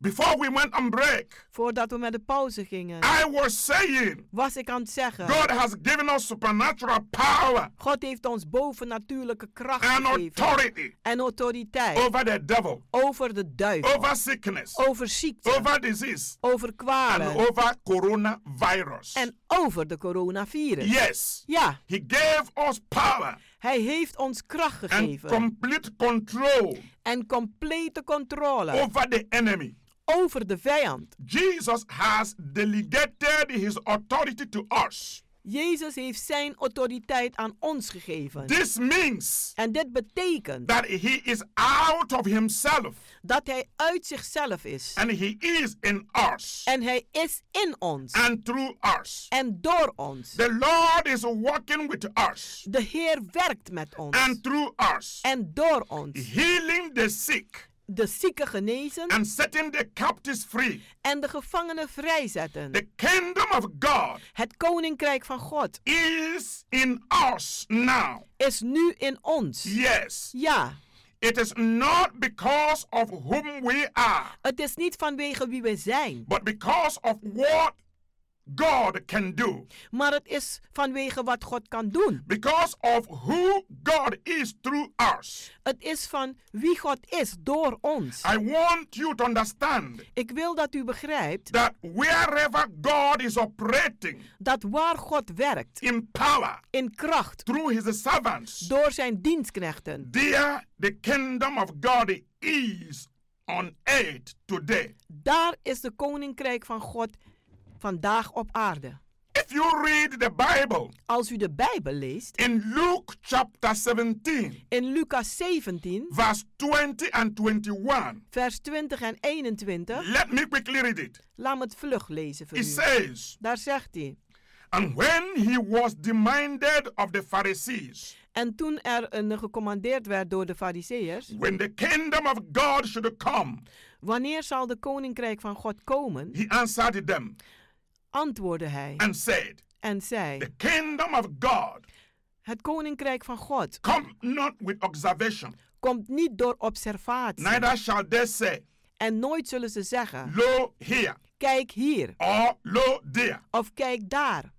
Speaker 11: Before we went on break,
Speaker 12: voordat we met de pauze gingen,
Speaker 11: I was saying
Speaker 12: was ik aan het zeggen:
Speaker 11: God has given us supernatural power
Speaker 12: God heeft ons bovennatuurlijke kracht
Speaker 11: and
Speaker 12: gegeven
Speaker 11: authority
Speaker 12: en autoriteit
Speaker 11: over the devil,
Speaker 12: over de duivel,
Speaker 11: over sickness,
Speaker 12: over ziekte,
Speaker 11: over disease,
Speaker 12: over
Speaker 11: and
Speaker 12: kwalen
Speaker 11: over coronavirus.
Speaker 12: en over de coronavirus.
Speaker 11: Yes.
Speaker 12: Ja,
Speaker 11: He gave us power
Speaker 12: hij heeft ons kracht
Speaker 11: and
Speaker 12: gegeven
Speaker 11: complete control
Speaker 12: en complete controle
Speaker 11: over the enemy.
Speaker 12: over de vijand.
Speaker 11: Jesus has delegated his authority to us.
Speaker 12: Jezus heeft zijn autoriteit aan ons gegeven.
Speaker 11: This means
Speaker 12: En dit betekent
Speaker 11: that he is out of himself
Speaker 12: dat hij uit zichzelf is.
Speaker 11: and he is in us
Speaker 12: En hij is in ons
Speaker 11: and through us.
Speaker 12: en door ons.
Speaker 11: The Lord is working with us
Speaker 12: De Heer werkt met ons
Speaker 11: and through us,
Speaker 12: en door ons.
Speaker 11: healing the sick
Speaker 12: De zieken genezen
Speaker 11: and setting the captives free.
Speaker 12: en de gevangenen vrijzetten.
Speaker 11: The kingdom of God
Speaker 12: Het koninkrijk van God
Speaker 11: is in us now.
Speaker 12: is nu in ons.
Speaker 11: Yes,
Speaker 12: Ja,
Speaker 11: it is not because of whom we are,
Speaker 12: het is niet vanwege wie we zijn,
Speaker 11: but because of what God can do.
Speaker 12: Maar het is vanwege wat God kan doen.
Speaker 11: Because of who God is through us.
Speaker 12: Het is van wie God is door ons.
Speaker 11: I want you to understand.
Speaker 12: Ik wil dat u begrijpt
Speaker 11: that wherever God is operating,
Speaker 12: dat waar God werkt
Speaker 11: in power,
Speaker 12: in kracht
Speaker 11: through his servants,
Speaker 12: door zijn dienstknechten.
Speaker 11: There the kingdom of God is on earth today.
Speaker 12: Daar is de koninkrijk van God vandaag op aarde.
Speaker 11: If you read the Bible,
Speaker 12: Als u de Bijbel leest,
Speaker 11: in Luke chapter 17,
Speaker 12: in Lucas 17,
Speaker 11: verse 20 and 21,
Speaker 12: vers 20 en 21,
Speaker 11: let me quickly read it.
Speaker 12: laat me het vlug lezen voor
Speaker 11: It
Speaker 12: u.
Speaker 11: says,
Speaker 12: Daar zegt hij.
Speaker 11: And when he was demanded of the Pharisees,
Speaker 12: En toen er een gecommandeerd werd door de Fariseërs,
Speaker 11: when the kingdom of God should come,
Speaker 12: wanneer zal de koninkrijk van God komen?
Speaker 11: he answered them
Speaker 12: Antwoordde hij
Speaker 11: and said,
Speaker 12: en zei:
Speaker 11: The kingdom of God
Speaker 12: Het koninkrijk van God
Speaker 11: come not with observation,
Speaker 12: komt niet door observatie.
Speaker 11: neither shall they say,
Speaker 12: En nooit zullen ze zeggen:
Speaker 11: Lo here
Speaker 12: Kijk hier
Speaker 11: or lo there.
Speaker 12: of kijk daar.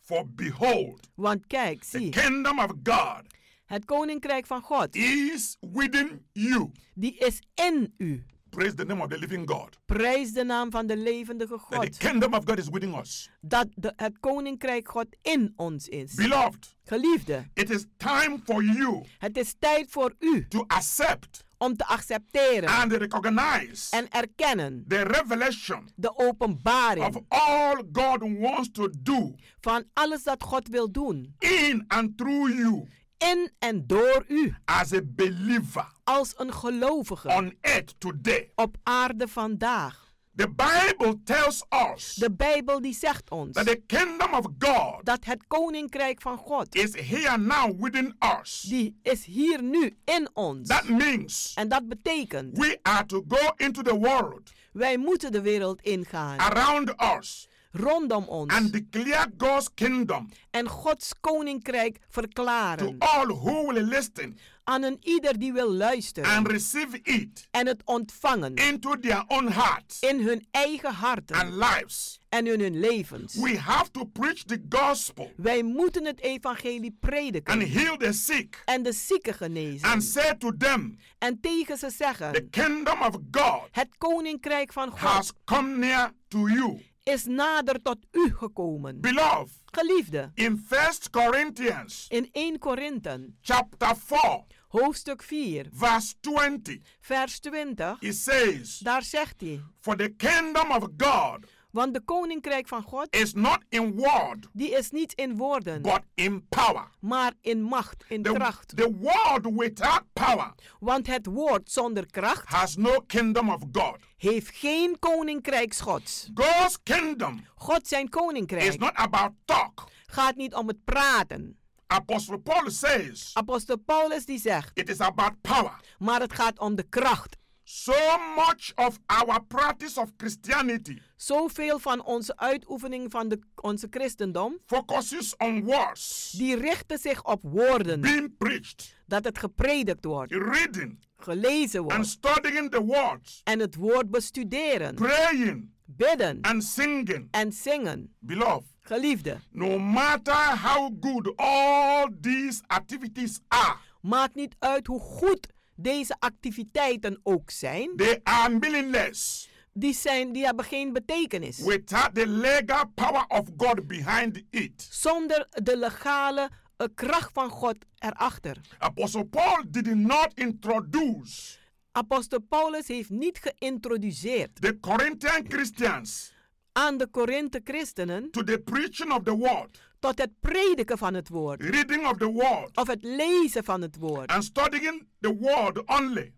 Speaker 11: For behold,
Speaker 12: Want kijk,
Speaker 11: the
Speaker 12: zie,
Speaker 11: kingdom of God
Speaker 12: het koninkrijk van God,
Speaker 11: is within you.
Speaker 12: die is in u.
Speaker 11: Praise the name of the living God.
Speaker 12: Prijs de naam van de levendige
Speaker 11: That the
Speaker 12: God.
Speaker 11: kingdom of God is within us.
Speaker 12: Dat de, het koninkrijk God in ons is.
Speaker 11: Beloved,
Speaker 12: Geliefde,
Speaker 11: it is time for you
Speaker 12: het is tijd voor u
Speaker 11: to accept
Speaker 12: om te accepteren
Speaker 11: and recognize
Speaker 12: en erkennen
Speaker 11: the revelation
Speaker 12: de
Speaker 11: of
Speaker 12: openbaring
Speaker 11: all God wants to do
Speaker 12: van alles dat God wil doen.
Speaker 11: in and through you
Speaker 12: In en door u,
Speaker 11: as a believer
Speaker 12: als een gelovige
Speaker 11: on earth today.
Speaker 12: op aarde vandaag.
Speaker 11: The Bible tells us
Speaker 12: De Bijbel die zegt ons
Speaker 11: that the kingdom of God
Speaker 12: dat het koninkrijk van God,
Speaker 11: is here now within us.
Speaker 12: die is hier nu in ons.
Speaker 11: That means
Speaker 12: En dat betekent,
Speaker 11: we are to go into the world
Speaker 12: wij moeten de wereld
Speaker 11: Ah.
Speaker 12: ingaan,
Speaker 11: around us
Speaker 12: rondom ons,
Speaker 11: and declare God's kingdom
Speaker 12: en Gods koninkrijk
Speaker 11: to
Speaker 12: verklaren
Speaker 11: all who will listen
Speaker 12: aan een ieder die wil luisteren
Speaker 11: and receive it
Speaker 12: en het ontvangen
Speaker 11: into their own hearts
Speaker 12: in hun eigen harten
Speaker 11: and lives.
Speaker 12: en in hun levens.
Speaker 11: We have to preach the gospel
Speaker 12: Wij moeten het evangelie
Speaker 11: and
Speaker 12: prediken
Speaker 11: heal the sick
Speaker 12: en de zieken genezen
Speaker 11: and say to them,
Speaker 12: en tegen ze
Speaker 11: The
Speaker 12: zeggen,
Speaker 11: kingdom of God
Speaker 12: het koninkrijk van God
Speaker 11: has come near to you.
Speaker 12: is nader tot u gekomen.
Speaker 11: Beloved,
Speaker 12: Geliefde,
Speaker 11: in First Corinthians
Speaker 12: in 1 Korinthe,
Speaker 11: chapter 4,
Speaker 12: hoofdstuk 4,
Speaker 11: verse 20,
Speaker 12: vers 20,
Speaker 11: it says,
Speaker 12: daar zegt hij,
Speaker 11: For the kingdom of God
Speaker 12: want de koninkrijk van God,
Speaker 11: is not in word,
Speaker 12: die is niet in woorden,
Speaker 11: but in power.
Speaker 12: maar in macht, in
Speaker 11: The,
Speaker 12: kracht.
Speaker 11: the word without power
Speaker 12: Want het woord zonder kracht
Speaker 11: has no kingdom of God.
Speaker 12: heeft geen koninkrijk Gods.
Speaker 11: God's kingdom
Speaker 12: God zijn
Speaker 11: is
Speaker 12: koninkrijk
Speaker 11: not about talk.
Speaker 12: gaat niet om het praten.
Speaker 11: Apostle Paul says
Speaker 12: Apostel Paulus die zegt,
Speaker 11: it is about power.
Speaker 12: maar het gaat om de kracht.
Speaker 11: So much of our practice of Christianity
Speaker 12: Zoveel van onze uitoefening van de, onze christendom,
Speaker 11: focuses on words
Speaker 12: die richten zich op woorden.
Speaker 11: being preached,
Speaker 12: Dat het gepredikt wordt,
Speaker 11: reading
Speaker 12: gelezen
Speaker 11: and
Speaker 12: wordt.
Speaker 11: studying the words,
Speaker 12: En het woord bestuderen,
Speaker 11: praying
Speaker 12: bidden
Speaker 11: and singing.
Speaker 12: en zingen.
Speaker 11: Beloved,
Speaker 12: Geliefde,
Speaker 11: no matter how good all these activities are,
Speaker 12: maakt niet uit hoe goed deze activiteiten ook zijn.
Speaker 11: they are meaningless
Speaker 12: Die, zijn, die hebben geen betekenis.
Speaker 11: without the legal power of God behind it.
Speaker 12: zonder de legale eh, kracht van God erachter.
Speaker 11: Apostle Paul did not introduce
Speaker 12: Apostel Paulus heeft niet geïntroduceerd
Speaker 11: the Corinthian Christians
Speaker 12: aan de Korinthe christenen
Speaker 11: to the preaching of the word,
Speaker 12: tot het prediken van het woord
Speaker 11: reading of the word,
Speaker 12: of het lezen van het woord
Speaker 11: and studying the word only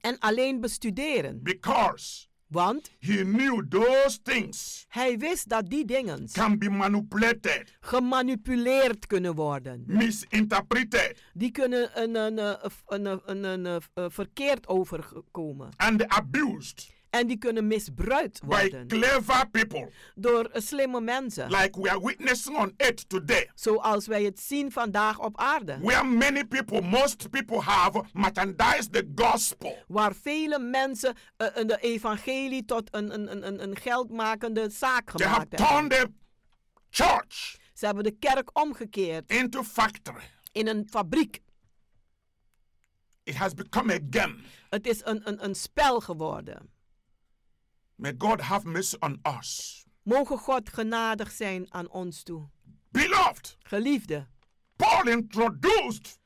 Speaker 12: en alleen bestuderen.
Speaker 11: because
Speaker 12: Want
Speaker 11: he knew those things
Speaker 12: hij wist dat die dingen
Speaker 11: can be manipulated,
Speaker 12: gemanipuleerd kunnen worden.
Speaker 11: misinterpreted,
Speaker 12: Die kunnen een, een, eh, een, een, een, een, eh, verkeerd overkomen
Speaker 11: and abused
Speaker 12: En die kunnen misbruikt
Speaker 11: by
Speaker 12: worden
Speaker 11: clever people,
Speaker 12: door eh, slimme mensen.
Speaker 11: like we are witnessing on earth today,
Speaker 12: Zoals wij het zien vandaag op aarde.
Speaker 11: where many people, most people have merchandised the gospel.
Speaker 12: Waar vele mensen eh, eh, de evangelie tot een, een, een- een, een geldmakende zaak
Speaker 11: They have
Speaker 12: gemaakt hebben.
Speaker 11: turned the church
Speaker 12: Ze hebben de kerk omgekeerd
Speaker 11: into factory.
Speaker 12: in een fabriek.
Speaker 11: It has become a game.
Speaker 12: Het is een, een, een spel geworden.
Speaker 11: May God have mercy on us.
Speaker 12: Mogen God genadig zijn aan ons toe.
Speaker 11: Beloved,
Speaker 12: Geliefde,
Speaker 11: Paul introduced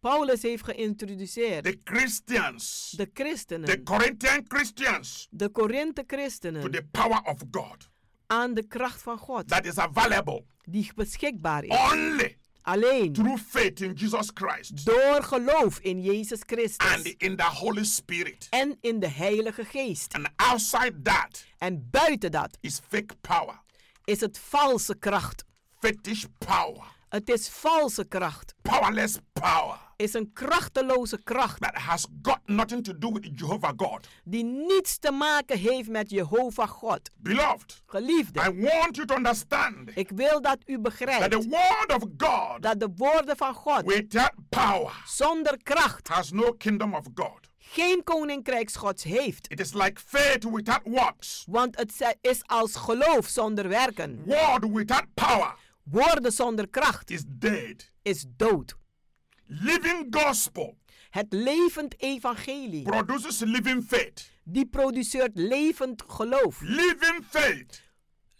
Speaker 12: Paulus heeft geïntroduceerd
Speaker 11: the Christians,
Speaker 12: de
Speaker 11: the
Speaker 12: christenen,
Speaker 11: Corinthian Christians,
Speaker 12: de Korinthe
Speaker 11: to
Speaker 12: christenen,
Speaker 11: the power of God
Speaker 12: aan de kracht van God
Speaker 11: that is available
Speaker 12: die beschikbaar is.
Speaker 11: only
Speaker 12: Alleen
Speaker 11: through faith in Jesus Christ
Speaker 12: door geloof in Jezus
Speaker 11: and
Speaker 12: Christus
Speaker 11: in the Holy Spirit.
Speaker 12: en in de Heilige Geest.
Speaker 11: And outside that
Speaker 12: En buiten dat
Speaker 11: is fake power,
Speaker 12: is het valse kracht.
Speaker 11: fetish power,
Speaker 12: Het is valse kracht.
Speaker 11: powerless power
Speaker 12: Is een krachteloze kracht
Speaker 11: that has got nothing to do with Jehovah God.
Speaker 12: die niets te maken heeft met Jehovah God.
Speaker 11: Beloved, I
Speaker 12: Geliefde,
Speaker 11: want you to understand
Speaker 12: ik wil dat u
Speaker 11: that the
Speaker 12: begrijpt
Speaker 11: word of God
Speaker 12: dat de woorden van God
Speaker 11: without power
Speaker 12: zonder kracht
Speaker 11: has no kingdom of God.
Speaker 12: geen koninkrijksgods heeft.
Speaker 11: It is like faith without works,
Speaker 12: Want het zij- is als geloof zonder werken.
Speaker 11: word without power
Speaker 12: Woorden zonder kracht
Speaker 11: is dead.
Speaker 12: is dood.
Speaker 11: Living gospel
Speaker 12: Het levend evangelie,
Speaker 11: produces living faith.
Speaker 12: die produceert levend geloof.
Speaker 11: Living faith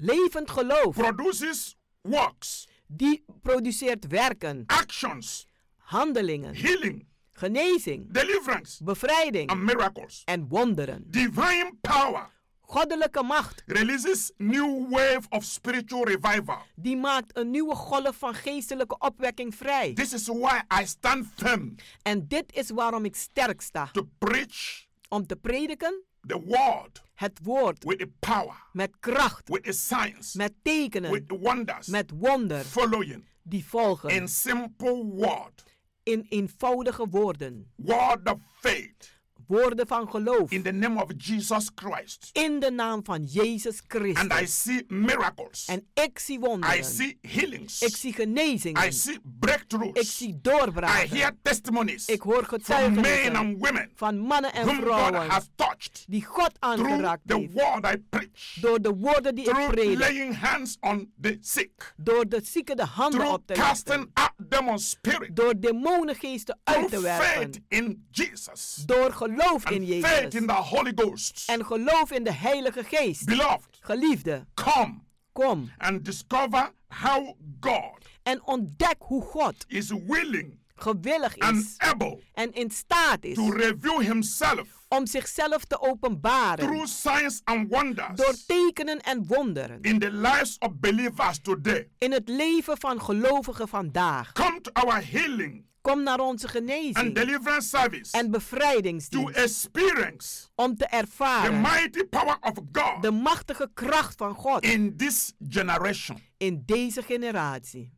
Speaker 12: Levend geloof,
Speaker 11: produces works,
Speaker 12: die produceert werken,
Speaker 11: actions,
Speaker 12: handelingen,
Speaker 11: healing,
Speaker 12: genezing,
Speaker 11: deliverance, and
Speaker 12: bevrijding
Speaker 11: miracles.
Speaker 12: en wonderen.
Speaker 11: Divine power
Speaker 12: Goddelijke macht,
Speaker 11: releases new wave of spiritual revival.
Speaker 12: die maakt een nieuwe golf van geestelijke opwekking vrij.
Speaker 11: This is why I stand firm
Speaker 12: En dit is waarom ik sterk sta.
Speaker 11: to preach
Speaker 12: Om te prediken
Speaker 11: the word
Speaker 12: het woord
Speaker 11: with the power,
Speaker 12: met kracht,
Speaker 11: with the science,
Speaker 12: met tekenen,
Speaker 11: with the wonders,
Speaker 12: met wonder
Speaker 11: following
Speaker 12: die volgen.
Speaker 11: in simple word,
Speaker 12: In eenvoudige woorden.
Speaker 11: word of faith,
Speaker 12: Woorden van geloof.
Speaker 11: in the name of Jesus Christ.
Speaker 12: In de naam van Jezus
Speaker 11: And I
Speaker 12: Christus.
Speaker 11: see miracles.
Speaker 12: En ik zie
Speaker 11: I
Speaker 12: wonderen.
Speaker 11: see healings.
Speaker 12: Ik zie genezingen.
Speaker 11: I see breakthroughs.
Speaker 12: Ik zie
Speaker 11: I
Speaker 12: doorbraken.
Speaker 11: hear testimonies
Speaker 12: Ik hoor
Speaker 11: from men
Speaker 12: getuigenissen
Speaker 11: and women
Speaker 12: van mannen en
Speaker 11: whom God
Speaker 12: vrouwen
Speaker 11: has touched
Speaker 12: die God
Speaker 11: through
Speaker 12: aangeraakt
Speaker 11: the
Speaker 12: heeft.
Speaker 11: word I preach,
Speaker 12: Door de woorden die ik
Speaker 11: through
Speaker 12: predik.
Speaker 11: laying hands on the sick,
Speaker 12: Door de zieken de handen
Speaker 11: through
Speaker 12: op te
Speaker 11: casting
Speaker 12: leggen.
Speaker 11: out demon spirit,
Speaker 12: Door demonengeesten uit te
Speaker 11: through faith
Speaker 12: werpen.
Speaker 11: in Jesus,
Speaker 12: Door geloof in
Speaker 11: and faith in
Speaker 12: Jezus.
Speaker 11: the Holy Ghost.
Speaker 12: En geloof in de Heilige Geest.
Speaker 11: Beloved,
Speaker 12: Geliefde,
Speaker 11: come
Speaker 12: kom
Speaker 11: and discover how God
Speaker 12: en ontdek hoe God
Speaker 11: is willing
Speaker 12: gewillig
Speaker 11: and
Speaker 12: is
Speaker 11: able
Speaker 12: en in staat
Speaker 11: to
Speaker 12: is
Speaker 11: reveal Himself
Speaker 12: om zichzelf te openbaren
Speaker 11: through signs and
Speaker 12: door
Speaker 11: wonders
Speaker 12: tekenen en wonderen
Speaker 11: in the lives of believers today.
Speaker 12: in het leven van gelovigen vandaag.
Speaker 11: Come to our healing
Speaker 12: Kom naar onze
Speaker 11: and
Speaker 12: genezing
Speaker 11: deliverance service
Speaker 12: en
Speaker 11: to
Speaker 12: bevrijdingsdienst
Speaker 11: experience
Speaker 12: om te
Speaker 11: the
Speaker 12: ervaren
Speaker 11: mighty power of
Speaker 12: de
Speaker 11: God
Speaker 12: machtige kracht van God
Speaker 11: in this generation.
Speaker 12: in deze generatie.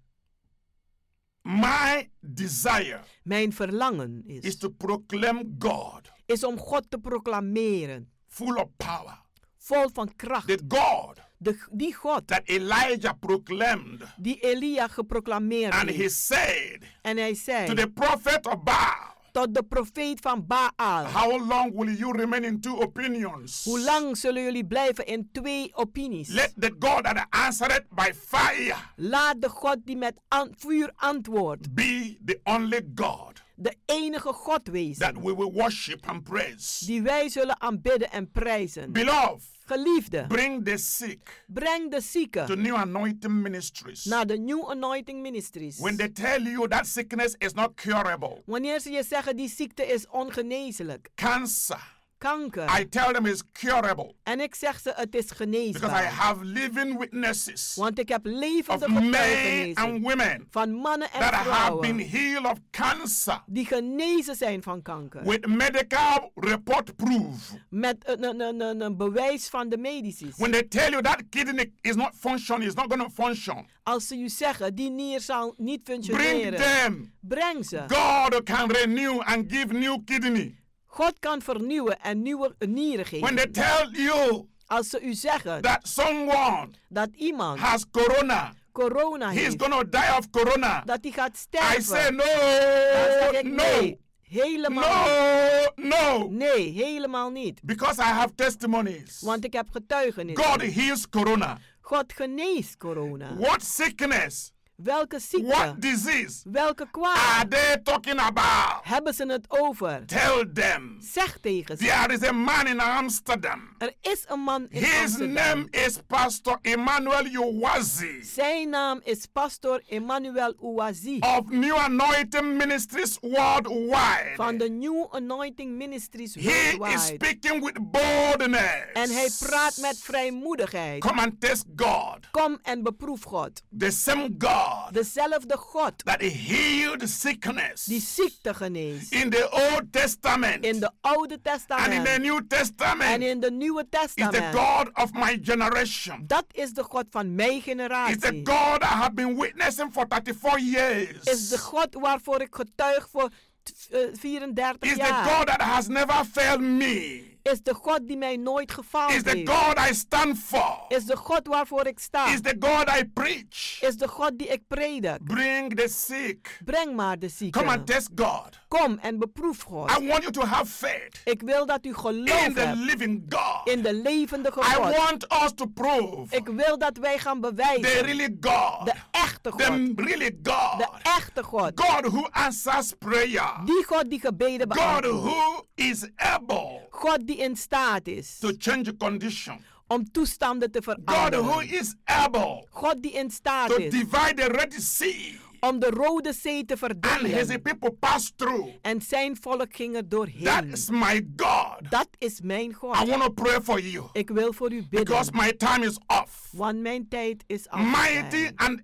Speaker 11: My desire
Speaker 12: Mijn verlangen
Speaker 11: is
Speaker 12: is,
Speaker 11: to proclaim God
Speaker 12: is om God te proclameren,
Speaker 11: full of power.
Speaker 12: vol van kracht,
Speaker 11: The God
Speaker 12: de, die God
Speaker 11: that Elijah proclaimed
Speaker 12: die Elia geproclameerd
Speaker 11: and he
Speaker 12: heeft.
Speaker 11: said
Speaker 12: En hij
Speaker 11: to
Speaker 12: zei
Speaker 11: the prophet of Baal,
Speaker 12: tot de profeet van Baal.
Speaker 11: How long will you remain in two opinions?
Speaker 12: Hoe lang zullen jullie blijven in twee opinies?
Speaker 11: Let the God that answered by fire
Speaker 12: Laat de God die met an- vuur antwoordt,
Speaker 11: be the only God
Speaker 12: de enige God wezen,
Speaker 11: that we will worship and praise.
Speaker 12: die wij zullen aanbidden en prijzen.
Speaker 11: Beloved,
Speaker 12: Geliefde,
Speaker 11: bring the sick
Speaker 12: breng de
Speaker 11: to
Speaker 12: zieken
Speaker 11: new anointing ministries.
Speaker 12: naar de New Anointing Ministries.
Speaker 11: When they tell you that sickness is not curable,
Speaker 12: Wanneer ze je zeggen die ziekte is ongeneeslijk,
Speaker 11: cancer, I
Speaker 12: kanker,
Speaker 11: tell them is curable
Speaker 12: en ik zeg ze het is
Speaker 11: because I
Speaker 12: geneesbaar,
Speaker 11: have living witnesses
Speaker 12: want ik heb
Speaker 11: of
Speaker 12: levende
Speaker 11: men and
Speaker 12: getuigenissen
Speaker 11: women
Speaker 12: van mannen en
Speaker 11: that have been
Speaker 12: vrouwen
Speaker 11: healed of cancer
Speaker 12: die genezen zijn van kanker.
Speaker 11: with medical report proof.
Speaker 12: Met een, een, een, een, een bewijs van de medici.
Speaker 11: When they tell you that kidney is not functioning, it's not going to function,
Speaker 12: Als ze u zeggen, die nier zal niet
Speaker 11: bring
Speaker 12: functioneren.
Speaker 11: them.
Speaker 12: Breng ze.
Speaker 11: God can renew and give new kidney.
Speaker 12: God kan vernieuwen en nieuwe nieren geven.
Speaker 11: When they tell you
Speaker 12: Als ze u zeggen
Speaker 11: that someone
Speaker 12: dat iemand
Speaker 11: has corona,
Speaker 12: corona
Speaker 11: he's
Speaker 12: heeft,
Speaker 11: gonna die of corona.
Speaker 12: dat hij gaat
Speaker 11: I
Speaker 12: sterven,
Speaker 11: say
Speaker 12: dan zeg ik
Speaker 11: no, no,
Speaker 12: nee. Helemaal niet.
Speaker 11: no, no,
Speaker 12: Nee, helemaal niet.
Speaker 11: because I have testimonies.
Speaker 12: Want ik heb getuigenissen.
Speaker 11: God heals corona.
Speaker 12: God geneest corona.
Speaker 11: What sickness?
Speaker 12: Welke ziekte,
Speaker 11: What disease
Speaker 12: welke
Speaker 11: are
Speaker 12: kwaal
Speaker 11: they talking about?
Speaker 12: hebben ze het over?
Speaker 11: Tell them.
Speaker 12: Zeg tegen ze.
Speaker 11: There is a man in Amsterdam.
Speaker 12: Er is een man in
Speaker 11: His
Speaker 12: Amsterdam.
Speaker 11: name is Pastor Emmanuel Uwazi
Speaker 12: Zijn naam is pastor Emmanuel Ouazi
Speaker 11: of New Anointing Ministries Worldwide.
Speaker 12: van de New Anointing Ministries
Speaker 11: He is
Speaker 12: Worldwide.
Speaker 11: speaking with boldness.
Speaker 12: En hij praat met vrijmoedigheid.
Speaker 11: Come and test God,
Speaker 12: Kom en beproef God.
Speaker 11: the same God
Speaker 12: Dezelfde God
Speaker 11: that healed sickness
Speaker 12: die ziekte geneest.
Speaker 11: in the Old Testament
Speaker 12: In de Oude
Speaker 11: and in the
Speaker 12: Testament
Speaker 11: New
Speaker 12: en
Speaker 11: Testament
Speaker 12: in de Nieuwe
Speaker 11: is the
Speaker 12: Testament.
Speaker 11: God of my generation.
Speaker 12: Dat is de God van mijn
Speaker 11: Is the
Speaker 12: generatie.
Speaker 11: God I have been witnessing for 34 years.
Speaker 12: Is de God waarvoor ik getuig voor t- eh, 34
Speaker 11: Is the God
Speaker 12: jaar.
Speaker 11: that has never failed me.
Speaker 12: Is de God die mij nooit
Speaker 11: Is
Speaker 12: gefaald
Speaker 11: the
Speaker 12: heeft.
Speaker 11: God I stand for.
Speaker 12: Is de God waarvoor ik sta.
Speaker 11: Is the God I preach.
Speaker 12: Is de God die ik predik.
Speaker 11: Bring the sick.
Speaker 12: Breng maar de
Speaker 11: Come and
Speaker 12: zieken.
Speaker 11: test God.
Speaker 12: Kom en beproef
Speaker 11: I
Speaker 12: God.
Speaker 11: want you to have faith
Speaker 12: Ik wil dat u
Speaker 11: in
Speaker 12: geloof
Speaker 11: the
Speaker 12: hebt
Speaker 11: living God.
Speaker 12: in de levende
Speaker 11: I
Speaker 12: God.
Speaker 11: want us to prove
Speaker 12: Ik wil dat wij gaan
Speaker 11: the
Speaker 12: bewijzen.
Speaker 11: really God.
Speaker 12: De echte God.
Speaker 11: The really
Speaker 12: De
Speaker 11: God.
Speaker 12: echte God.
Speaker 11: God who answers prayer.
Speaker 12: Die God die gebeden
Speaker 11: God
Speaker 12: beantwoordt.
Speaker 11: who is able
Speaker 12: God die in staat is
Speaker 11: to change condition.
Speaker 12: om toestanden te
Speaker 11: God who
Speaker 12: veranderen.
Speaker 11: is able
Speaker 12: God die in staat
Speaker 11: to
Speaker 12: is
Speaker 11: divide the Red Sea
Speaker 12: om de Rode Zee te
Speaker 11: and his
Speaker 12: verdelen.
Speaker 11: people pass through.
Speaker 12: En zijn volk ging er
Speaker 11: That
Speaker 12: doorheen.
Speaker 11: is my God.
Speaker 12: Dat is mijn
Speaker 11: I
Speaker 12: God.
Speaker 11: want to pray for you
Speaker 12: Ik wil voor u
Speaker 11: because
Speaker 12: bidden.
Speaker 11: my time is off.
Speaker 12: Want mijn tijd is
Speaker 11: Mighty
Speaker 12: afgelopen.
Speaker 11: and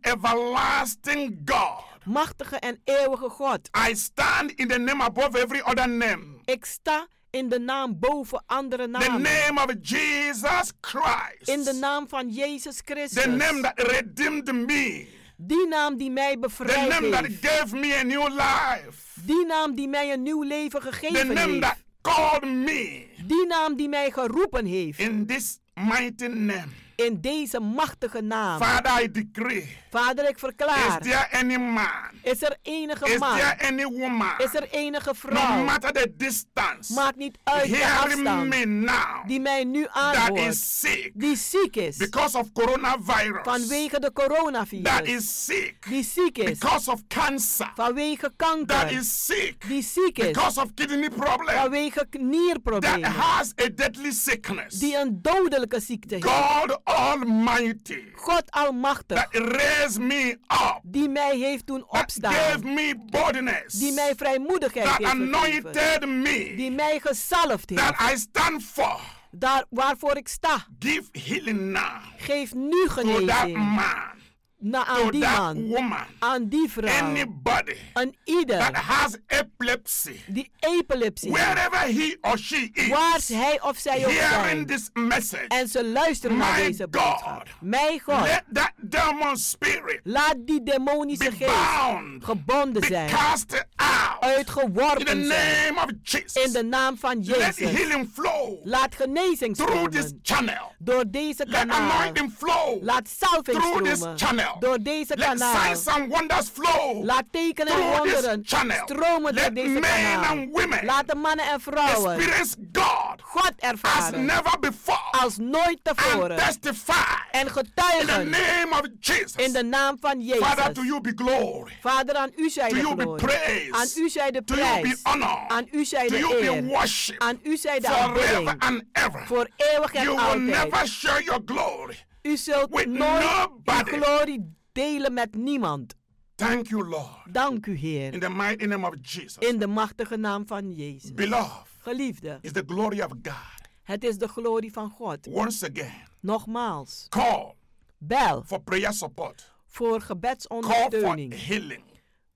Speaker 11: everlasting God.
Speaker 12: Machtige en eeuwige God.
Speaker 11: I stand in the name above every other name.
Speaker 12: Ik sta in de naam boven andere
Speaker 11: The
Speaker 12: namen.
Speaker 11: name of Jesus Christ.
Speaker 12: In de naam van Jezus Christus.
Speaker 11: The name that redeemed me.
Speaker 12: Die naam die mij
Speaker 11: The
Speaker 12: bevrijdt
Speaker 11: name that
Speaker 12: heeft.
Speaker 11: gave me a new life.
Speaker 12: Die naam die mij een nieuw leven
Speaker 11: The
Speaker 12: gegeven
Speaker 11: name
Speaker 12: heeft.
Speaker 11: that called me
Speaker 12: Die naam die mij geroepen heeft.
Speaker 11: in this mighty name.
Speaker 12: In deze machtige naam.
Speaker 11: Father, I decree.
Speaker 12: Vader, ik
Speaker 11: Is
Speaker 12: verklaar.
Speaker 11: there any man?
Speaker 12: Is er enige
Speaker 11: Is
Speaker 12: man?
Speaker 11: there any woman?
Speaker 12: Is er enige
Speaker 11: No
Speaker 12: vrouw?
Speaker 11: matter the distance.
Speaker 12: Maakt niet uit de
Speaker 11: Hearing me
Speaker 12: afstand.
Speaker 11: now.
Speaker 12: Die mij nu
Speaker 11: That is
Speaker 12: aanhoort.
Speaker 11: sick.
Speaker 12: Die ziek is.
Speaker 11: because of coronavirus
Speaker 12: Vanwege de
Speaker 11: that
Speaker 12: coronavirus.
Speaker 11: is sick
Speaker 12: Die ziek is.
Speaker 11: because of cancer
Speaker 12: Vanwege
Speaker 11: that
Speaker 12: kanker.
Speaker 11: is sick
Speaker 12: Die ziek is.
Speaker 11: because of kidney problem
Speaker 12: Vanwege
Speaker 11: that
Speaker 12: nierproblemen.
Speaker 11: has a deadly sickness
Speaker 12: Die een dodelijke ziekte heeft.
Speaker 11: god almighty
Speaker 12: God
Speaker 11: that
Speaker 12: Almachtig.
Speaker 11: raised me up
Speaker 12: Die mij heeft doen
Speaker 11: that gave
Speaker 12: opstaan.
Speaker 11: me boldness
Speaker 12: Die mij vrijmoedigheid
Speaker 11: that
Speaker 12: heeft gegeven.
Speaker 11: anointed me
Speaker 12: Die mij gezalfd
Speaker 11: that
Speaker 12: heeft.
Speaker 11: i stand for
Speaker 12: Daar waarvoor ik sta.
Speaker 11: give healing now
Speaker 12: Geef nu
Speaker 11: to that
Speaker 12: genezing.
Speaker 11: man
Speaker 12: Na aan
Speaker 11: to
Speaker 12: die
Speaker 11: that
Speaker 12: man.
Speaker 11: woman
Speaker 12: Aan die vrouw.
Speaker 11: anybody
Speaker 12: Aan
Speaker 11: that
Speaker 12: ieder
Speaker 11: has epilepsy
Speaker 12: die epilepsie heeft.
Speaker 11: wherever he or she
Speaker 12: Waar
Speaker 11: is
Speaker 12: hij of zij ook
Speaker 11: hearing
Speaker 12: zijn.
Speaker 11: this message
Speaker 12: En ze luisteren naar
Speaker 11: My
Speaker 12: deze
Speaker 11: God.
Speaker 12: boodschap. Mijn God.
Speaker 11: let that demon spirit
Speaker 12: Laat die
Speaker 11: be
Speaker 12: demonische geest
Speaker 11: bound
Speaker 12: gebonden
Speaker 11: be
Speaker 12: zijn.
Speaker 11: cast out in the
Speaker 12: Uitgeworpen zijn.
Speaker 11: name of
Speaker 12: In
Speaker 11: Jesus
Speaker 12: de naam van
Speaker 11: let
Speaker 12: Jezus.
Speaker 11: healing flow
Speaker 12: Laat genezing
Speaker 11: through this
Speaker 12: stromen.
Speaker 11: channel
Speaker 12: Door deze
Speaker 11: let
Speaker 12: kanaal.
Speaker 11: anointing flow
Speaker 12: Laat salving
Speaker 11: through this
Speaker 12: stromen.
Speaker 11: channel
Speaker 12: Door deze
Speaker 11: let
Speaker 12: kanaal.
Speaker 11: signs and wonders flow
Speaker 12: Laat tekenen en
Speaker 11: through this
Speaker 12: wonderen
Speaker 11: channel.
Speaker 12: stromen door
Speaker 11: Let
Speaker 12: deze
Speaker 11: men
Speaker 12: kanaal.
Speaker 11: and women
Speaker 12: Laat de mannen en vrouwen
Speaker 11: experience God
Speaker 12: God
Speaker 11: as
Speaker 12: ervaren.
Speaker 11: never before
Speaker 12: Als nooit
Speaker 11: and
Speaker 12: tevoren.
Speaker 11: testify
Speaker 12: En
Speaker 11: in the
Speaker 12: getuigen.
Speaker 11: name of Jesus
Speaker 12: In de naam van
Speaker 11: Father, to
Speaker 12: Jezus.
Speaker 11: you be glory.
Speaker 12: Vader, aan u zij
Speaker 11: To
Speaker 12: de
Speaker 11: you be
Speaker 12: glorie.
Speaker 11: praise.
Speaker 12: Aan u zij de
Speaker 11: To you be
Speaker 12: prijs.
Speaker 11: honor.
Speaker 12: Aan u zij
Speaker 11: to
Speaker 12: de
Speaker 11: you be
Speaker 12: eer.
Speaker 11: worship.
Speaker 12: Aan u zij de
Speaker 11: forever
Speaker 12: aanbidding.
Speaker 11: and ever.
Speaker 12: Voor eeuwig en
Speaker 11: you will
Speaker 12: altijd.
Speaker 11: never share your glory.
Speaker 12: U zult
Speaker 11: with
Speaker 12: nooit uw
Speaker 11: nobody.
Speaker 12: glorie delen met niemand.
Speaker 11: Thank you, Lord.
Speaker 12: Dank u,
Speaker 11: In
Speaker 12: Heer.
Speaker 11: the mighty name of Jesus.
Speaker 12: In de machtige naam van Jezus.
Speaker 11: Beloved
Speaker 12: Geliefde,
Speaker 11: is the glory of God.
Speaker 12: het is de glorie van God.
Speaker 11: Once again,
Speaker 12: Nogmaals,
Speaker 11: call
Speaker 12: bel
Speaker 11: for prayer support.
Speaker 12: voor
Speaker 11: Call for
Speaker 12: gebedsondersteuning.
Speaker 11: healing.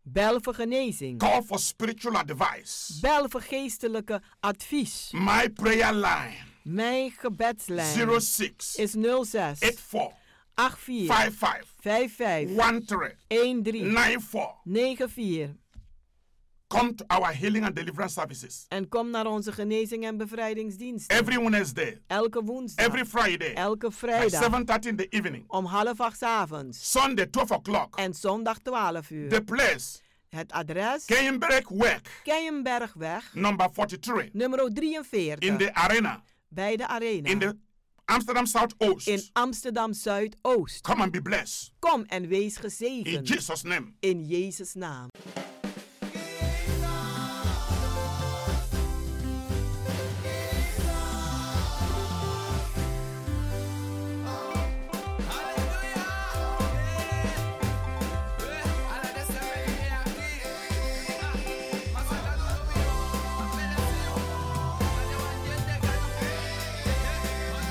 Speaker 12: Bel voor genezing.
Speaker 11: Call for spiritual advice.
Speaker 12: Bel voor geestelijke advies.
Speaker 11: My prayer line
Speaker 12: Mijn gebedslijn
Speaker 11: 06
Speaker 12: is 06
Speaker 11: 84
Speaker 12: 84
Speaker 11: 55
Speaker 12: 55
Speaker 11: 13
Speaker 12: 13
Speaker 11: 94
Speaker 12: 94.
Speaker 11: Come to our healing and deliverance services.
Speaker 12: En kom naar onze genezing en bevrijdingsdienst.
Speaker 11: Every Wednesday.
Speaker 12: Elke woensdag.
Speaker 11: Every Friday.
Speaker 12: Elke
Speaker 11: By
Speaker 12: vrijdag.
Speaker 11: 7.30 in the evening.
Speaker 12: Om half acht 's avonds.
Speaker 11: Sunday, 12 o'clock.
Speaker 12: En zondag 12 uur.
Speaker 11: The place,
Speaker 12: Het adres.
Speaker 11: Keienbergweg,
Speaker 12: Keienbergweg.
Speaker 11: number 43.
Speaker 12: Nummer 43.
Speaker 11: In the arena.
Speaker 12: bij de arena.
Speaker 11: In the Amsterdam Southoost.
Speaker 12: in Amsterdam Zuidoost.
Speaker 11: Come and be blessed.
Speaker 12: Kom en wees
Speaker 11: In
Speaker 12: gezegend.
Speaker 11: Jesus' name.
Speaker 12: In Jezus' naam.
Speaker 13: Thank you.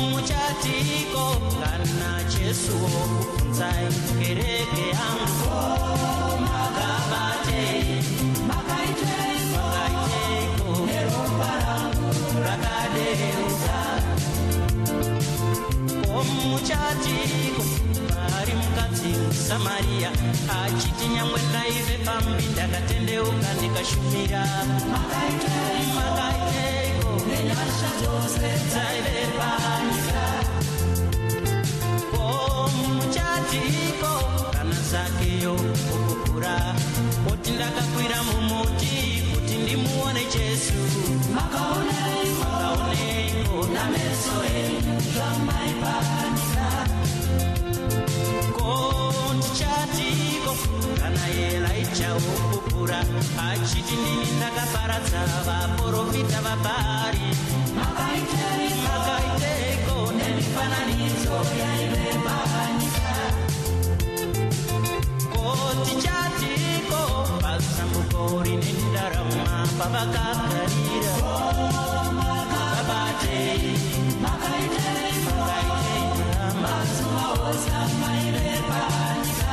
Speaker 12: muchatiko kana jesu wokubvunzai kereke yangu makabatei makaiteiko neropa rangu rakadeuka komuchatiko vari mukadzi musamariya achiti nyangwe ndaive pambi ndakatendeuka ndikashumira makaiteiko nenyasha dzose dzaive panyika komuchatiko kana zakeyo kukukura kuti ndakakwira mumuti kuti ndimuone jesu makaoneiko nameso enyu zvamaipanyika kontichatiko kana elaijawo kukura achiti ndini ndakaparadza vaprofita vabhari makaiteiko nemifananidzo yaive panyika kotichatiko pasambuko rine ndarama pavakagarira vabatei makaiteiko mazuva ose maive panyika